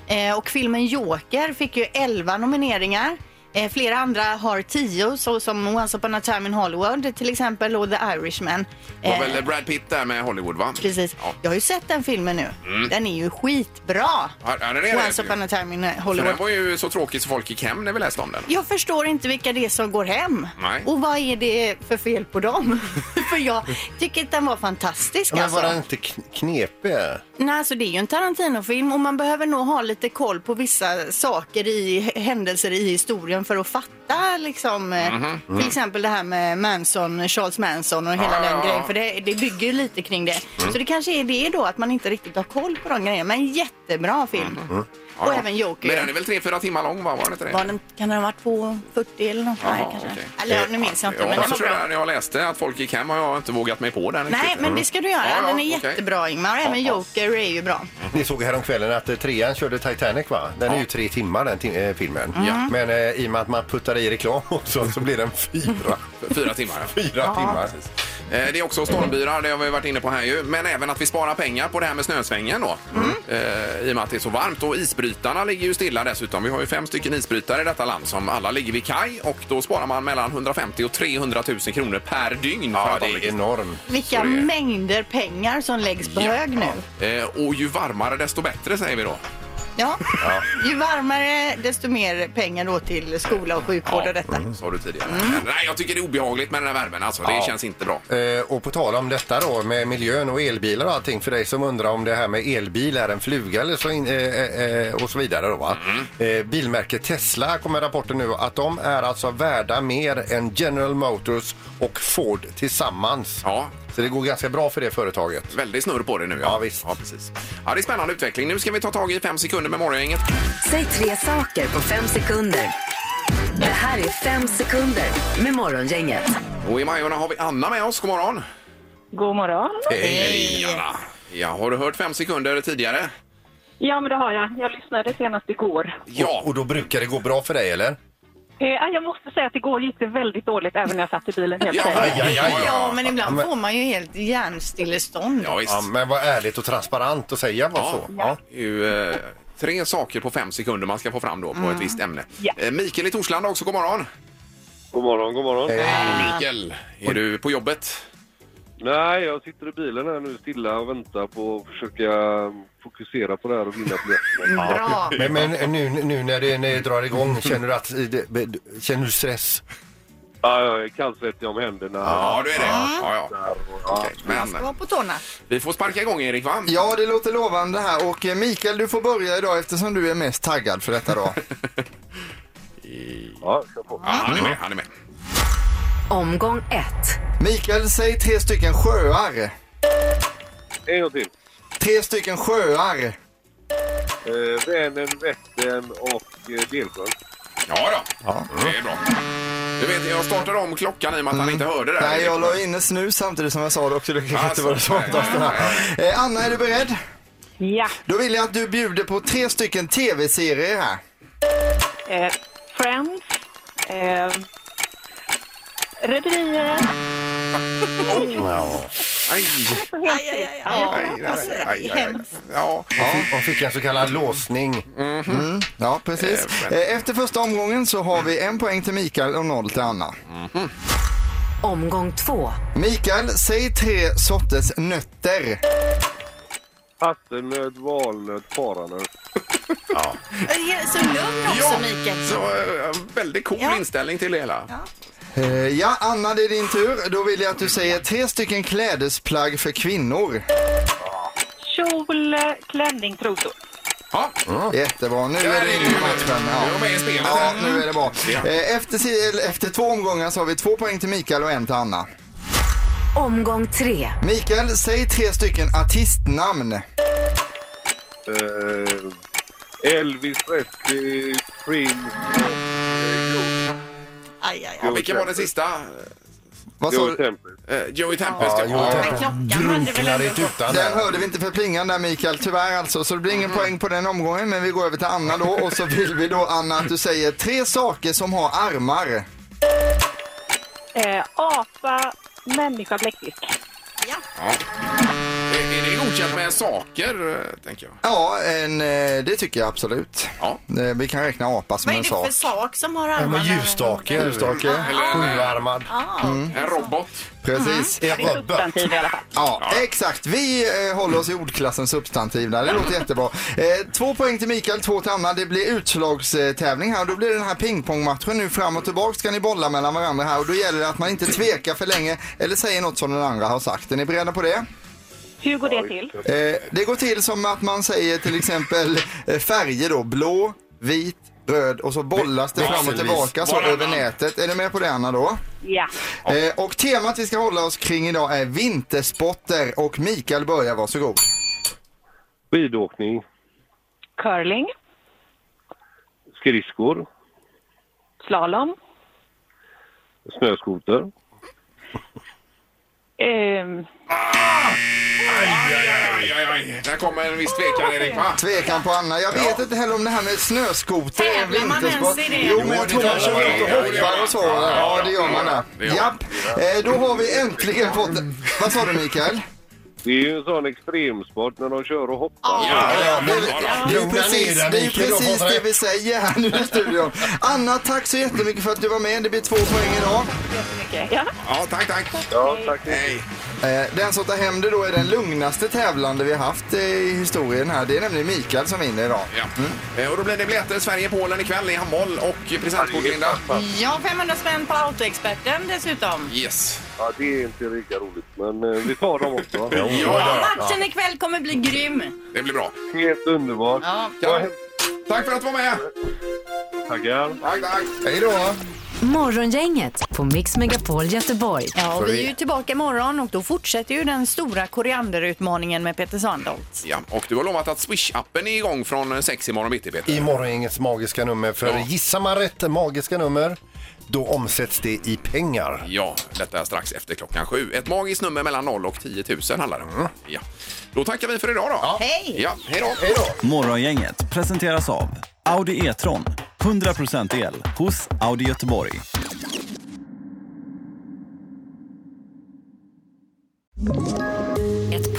[SPEAKER 2] Eh, och filmen Joker fick ju 11 nomineringar. Eh, flera andra har 10, så som Once upon a time in Hollywood till exempel och The Irishman.
[SPEAKER 1] Det
[SPEAKER 2] Eh,
[SPEAKER 1] var väl Brad Pitt där med Hollywood va?
[SPEAKER 2] Precis. Jag har ju sett den filmen nu.
[SPEAKER 1] Mm.
[SPEAKER 2] Den är ju skitbra.
[SPEAKER 1] Ja, ja, den är det
[SPEAKER 2] Once
[SPEAKER 1] ju.
[SPEAKER 2] upon a time in
[SPEAKER 1] För
[SPEAKER 2] Hollywood.
[SPEAKER 1] den var ju så tråkig så folk gick hem när vi läste om den.
[SPEAKER 2] Jag förstår inte vilka det är som går hem.
[SPEAKER 1] Nej.
[SPEAKER 2] Och vad är det för fel på dem? (laughs) för jag tycker att den var fantastisk.
[SPEAKER 3] Men
[SPEAKER 2] alltså.
[SPEAKER 3] var den inte kn- knepig?
[SPEAKER 1] Mm.
[SPEAKER 2] Nej, alltså det är ju en Tarantino-film och man behöver nog ha lite koll på vissa saker i händelser i historien för att fatta liksom eh,
[SPEAKER 9] Mhm.
[SPEAKER 2] till
[SPEAKER 9] Mm.
[SPEAKER 2] exempel det här med Manson, Charles Manson och hela
[SPEAKER 9] Ja,
[SPEAKER 2] den
[SPEAKER 9] ja,
[SPEAKER 2] grejen
[SPEAKER 9] ja.
[SPEAKER 2] för det, det bygger ju lite kring det.
[SPEAKER 9] Mm.
[SPEAKER 2] Så det kanske är det då att man inte riktigt har koll på de grejerna men jättebra film.
[SPEAKER 1] Ja,
[SPEAKER 2] Och
[SPEAKER 1] ja.
[SPEAKER 2] även Joker.
[SPEAKER 1] Men den är väl 3-4 timmar lång va? Var den inte det?
[SPEAKER 2] Var den, kan den ha varit 2.40 eller något? Nej,
[SPEAKER 1] Jaha,
[SPEAKER 2] kanske.
[SPEAKER 1] okej.
[SPEAKER 2] Eller ja, nu minns jag inte
[SPEAKER 1] Ja,
[SPEAKER 2] men den var
[SPEAKER 1] jag,
[SPEAKER 2] bra.
[SPEAKER 1] där, när jag läste att folk gick hem och jag har inte vågat mig på den.
[SPEAKER 2] Nej,
[SPEAKER 1] riktigt. Mm.
[SPEAKER 2] men det ska du göra.
[SPEAKER 1] Ja, ja,
[SPEAKER 2] den är
[SPEAKER 1] okej.
[SPEAKER 2] jättebra Ingmar och även
[SPEAKER 1] Ja, ja.
[SPEAKER 2] Joker är ju bra.
[SPEAKER 3] Ni såg häromkvällen att eh, trean körde Titanic va? Den är ju tre timmar den ti- eh, filmen.
[SPEAKER 1] Ja.
[SPEAKER 3] Men eh, i och med att man puttar i reklam också så blir den fyra.
[SPEAKER 1] Fyra timmar. ja.
[SPEAKER 3] Fyra timmar.
[SPEAKER 1] Precis. Eh, Det är också stormbyar, det har vi varit inne på här ju. Men även att vi sparar pengar på det här med snösvängen då.
[SPEAKER 2] Mm.
[SPEAKER 1] Eh, I och med att det är så varmt. Och isbrytarna ligger ju stilla dessutom. Vi har ju fem stycken isbrytare i detta land som alla ligger vid kaj. Och då sparar man mellan 150 och 300 000 kronor per dygn. Ja, det är
[SPEAKER 3] enormt.
[SPEAKER 2] Vilka mängder pengar som läggs på hög nu.
[SPEAKER 1] Eh, Och ju varmare desto bättre säger vi då.
[SPEAKER 2] Ja.
[SPEAKER 1] Ja.
[SPEAKER 2] Ju varmare desto mer pengar då till skola och sjukvård och detta.
[SPEAKER 1] Sa du tidigare. Nej, jag tycker det är obehagligt med den här värmen alltså. Det
[SPEAKER 3] Ja.
[SPEAKER 1] känns inte bra.
[SPEAKER 3] Eh, och på tal om detta då med miljön och elbilar och allting för dig som undrar om det här med elbil är en fluga eller så in, eh, eh, eh, och så vidare då va.
[SPEAKER 1] Mm.
[SPEAKER 3] Eh, bilmärket Tesla kommer rapporten nu att de är alltså värda mer än General Motors och Ford tillsammans.
[SPEAKER 1] Ja.
[SPEAKER 3] Så det går ganska bra för det företaget.
[SPEAKER 1] Väldigt snurr på det nu. Ja, visst. Ja, precis. Ja, det är spännande utveckling. Nu ska vi ta tag i fem sekunder med morgongänget.
[SPEAKER 5] Säg tre saker på fem sekunder. Det här är fem sekunder med Morgongänget.
[SPEAKER 1] Och i Majorna har vi Anna med oss. God morgon!
[SPEAKER 7] God morgon.
[SPEAKER 3] Eh,
[SPEAKER 1] Hej Anna! Ja, har du hört fem sekunder tidigare?
[SPEAKER 7] Ja, men det har jag. Jag lyssnade senast igår.
[SPEAKER 1] Ja.
[SPEAKER 3] Och, och då brukar det gå bra för dig eller?
[SPEAKER 7] Eh, jag måste säga att igår gick det väldigt dåligt även när jag satt i bilen helt
[SPEAKER 2] Ja, men
[SPEAKER 3] Ja,
[SPEAKER 2] ibland
[SPEAKER 3] men-
[SPEAKER 2] får man ju helt hjärnstillestånd.
[SPEAKER 3] Ja, men var ärligt och transparent och säga vad så. Ja.
[SPEAKER 1] Det är ju, eh, tre saker på fem sekunder man ska få fram då på ett visst ämne. Eh, Mikael i Torslanda också, god morgon!
[SPEAKER 13] God morgon, god morgon.
[SPEAKER 1] Hej Mikael! Är du på jobbet?
[SPEAKER 13] Nej, jag sitter i bilen här nu stilla och väntar på att försöka fokusera på det här och vinna biljetterna.
[SPEAKER 3] eh, Men, men nu, nu när det, när det drar igång, känner du, att, känner du stress?
[SPEAKER 13] Ja, jag är kallsvettig om händerna.
[SPEAKER 1] Ja, du är det. Ja,
[SPEAKER 13] ja.
[SPEAKER 1] Men
[SPEAKER 2] Var på tårna.
[SPEAKER 1] vi får sparka igång Erik va?
[SPEAKER 6] Ja, det låter lovande här och eh, Mikael du får börja idag eftersom du är mest taggad för detta
[SPEAKER 1] (laughs)
[SPEAKER 6] då.
[SPEAKER 13] Ja, kör på.
[SPEAKER 1] han är med. Han är med.
[SPEAKER 5] Omgång 1.
[SPEAKER 6] Mikael, säg tre stycken sjöar.
[SPEAKER 13] En gång till.
[SPEAKER 6] Tre stycken sjöar.
[SPEAKER 13] Eh, Vänern, Vättern och eh, Delsjön.
[SPEAKER 1] Ja då. det är bra. Du vet, jag startar om klockan i och med att han inte hörde det. här.
[SPEAKER 6] Nej, jag la in en snus samtidigt som jag sa det också. Det kanske inte
[SPEAKER 1] Alltså,
[SPEAKER 6] var det smartaste.
[SPEAKER 1] nej,
[SPEAKER 6] här. Eh, Anna, är du beredd? Ja. Då vill jag att du bjuder på tre stycken tv-serier här.
[SPEAKER 8] Eh, Friends. Eh, Rederiet.
[SPEAKER 1] Aj.
[SPEAKER 8] Aj, aj, aj.
[SPEAKER 1] Aj, aj, aj, aj. Ja.
[SPEAKER 3] Hon fick en så kallad låsning.
[SPEAKER 6] Mm, ja, precis.
[SPEAKER 3] Eh, men-
[SPEAKER 6] Eh, Efter första omgången så har vi en poäng till Mikael och noll till Anna.
[SPEAKER 5] Omgång 2.
[SPEAKER 6] Mikael, säg tre sorters nötter.
[SPEAKER 13] Hasselnöt, valnöt, paranöt.
[SPEAKER 4] Eh, Så lugn också
[SPEAKER 1] Ja,
[SPEAKER 4] Mikael.
[SPEAKER 1] så eh, väldigt cool inställning till det hela.
[SPEAKER 6] Eh, Ja, Anna, det är din tur. Då vill jag att du säger tre stycken klädesplagg för kvinnor.
[SPEAKER 8] Kjol, klänning, trosor.
[SPEAKER 1] Ja.
[SPEAKER 6] Jättebra. Nu är det in i matchen.
[SPEAKER 1] Nu är jag med i spelet
[SPEAKER 6] Ja,
[SPEAKER 1] här.
[SPEAKER 6] nu är det bra.
[SPEAKER 1] Ja.
[SPEAKER 6] Eh, Efter, si- eller efter två omgångar så har vi två poäng till Mikael och en till Anna.
[SPEAKER 5] Omgång 3.
[SPEAKER 6] Mikael, säg tre stycken artistnamn.
[SPEAKER 13] Eh, Elvis Presley, Prince
[SPEAKER 2] Aj, aj,
[SPEAKER 1] Ja, vilken var den sista?
[SPEAKER 6] Vad sa
[SPEAKER 13] Joe
[SPEAKER 6] du?
[SPEAKER 13] Temple.
[SPEAKER 1] Eh, Joey Tempest. Ja,
[SPEAKER 3] Drunknar i tutan
[SPEAKER 6] Den
[SPEAKER 3] där.
[SPEAKER 6] hörde vi inte för plingan där Mikael, tyvärr alltså. Så det blir ingen poäng på den omgången. Men vi går över till Anna då. Och så vill vi då Anna att du säger tre saker som har armar.
[SPEAKER 8] Eh, apa, människa, bläckfisk.
[SPEAKER 1] Ja. Är, är det godkänt med saker, eh, tänker jag?
[SPEAKER 6] Ja, en, eh, det tycker jag absolut. Eh, Vi kan räkna apa som
[SPEAKER 2] Vad är
[SPEAKER 6] en
[SPEAKER 2] det
[SPEAKER 6] sak.
[SPEAKER 2] för sak som har armarna?
[SPEAKER 6] ljusstake. Ljusstake.
[SPEAKER 3] Sjuarmad.
[SPEAKER 1] En
[SPEAKER 6] Mm.
[SPEAKER 1] robot.
[SPEAKER 6] Precis.
[SPEAKER 3] Mm. En robot. Substantiv
[SPEAKER 8] i alla fall.
[SPEAKER 6] Ja, exakt. Vi eh, håller oss i ordklassen substantiv där. Det låter jättebra. Eh, två poäng till Mikael, två till Anna. Det blir utslagstävling här. Då blir det den här pingpongmatchen nu fram och tillbaka ska ni bolla mellan varandra här och då gäller det att man inte tvekar för länge eller säger något som den andra har sagt. Är ni beredda på det?
[SPEAKER 8] Hur går det till?
[SPEAKER 6] Eh, det går till som att man säger till exempel eh, färger då, blå, vit, röd och så bollas det
[SPEAKER 3] Ve-
[SPEAKER 6] fram och
[SPEAKER 3] växelvis.
[SPEAKER 6] tillbaka så
[SPEAKER 3] Varannan.
[SPEAKER 6] över nätet. Är du med på det Anna då?
[SPEAKER 8] Ja.
[SPEAKER 6] Eh, och temat vi ska hålla oss kring idag är vinterspotter och Mikael börjar, varsågod.
[SPEAKER 13] Skidåkning,
[SPEAKER 8] Curling,
[SPEAKER 13] skridskor,
[SPEAKER 8] slalom,
[SPEAKER 13] snöskoter.
[SPEAKER 8] ehm,
[SPEAKER 1] Aj, aj, aj. Där kommer en viss tvekan, Erik, va?
[SPEAKER 6] Tvekan på Anna. Jag vet inte heller om det här med snöskoter är en
[SPEAKER 1] Tävlar man
[SPEAKER 6] vintersport.
[SPEAKER 1] ens i det?
[SPEAKER 6] Jo, men jag tror man kör ut och hoppar och så. Ja, det gör man där.
[SPEAKER 13] Det gör man.
[SPEAKER 6] Japp. Eh, då har vi äntligen fått... Vad sa du Mikael?
[SPEAKER 13] Det är ju en sån extremsport när de kör och hoppar.
[SPEAKER 6] Det är- det är ju precis, det, är ju precis det vi säger här nu i studion. Anna, tack så jättemycket för att du var med. Det blir två poäng idag.
[SPEAKER 8] ja.
[SPEAKER 1] Ja, tack, tack.
[SPEAKER 13] Ja, tack.
[SPEAKER 1] Hej.
[SPEAKER 6] Eh, Den som tar hem det då är den lugnaste tävlande vi har haft eh, i historien här. Det är nämligen Mikael som vinner idag.
[SPEAKER 1] Ja. Eh, Och då blir det biljetter Sverige-Polen ikväll i handboll och presentkort, Linda.
[SPEAKER 4] Ja, 500 spänn på Autoexperten dessutom.
[SPEAKER 1] Yes.
[SPEAKER 13] Ja, det är inte lika roligt, men eh, vi tar dem också. va?
[SPEAKER 4] Ja, matchen ikväll kommer bli grym.
[SPEAKER 1] Det blir bra.
[SPEAKER 13] Helt underbart.
[SPEAKER 4] Ja.
[SPEAKER 13] Ja.
[SPEAKER 1] Tack för att du var med.
[SPEAKER 13] Tackar.
[SPEAKER 1] Tack, tack.
[SPEAKER 6] Hej då!
[SPEAKER 5] Morgongänget på Mix Megapol Göteborg.
[SPEAKER 2] Ja, vi är ju tillbaka imorgon och då fortsätter ju den stora korianderutmaningen med Peter Sandholt.
[SPEAKER 1] Ja, och du har lovat att Swish-appen är igång från 6 imorgon bitti, Peter.
[SPEAKER 3] I morgongängets magiska nummer. För gissar man rätt magiska nummer, då omsätts det i pengar.
[SPEAKER 1] Ja, detta är strax efter klockan sju. Ett magiskt nummer mellan 0 och 10 000 handlar det om. Ja. Då tackar vi för idag då.
[SPEAKER 2] Hej!
[SPEAKER 1] Ja, hej då!
[SPEAKER 14] Morgongänget presenteras av Audi E-tron. 100% el hos Audi Göteborg.
[SPEAKER 15] Ett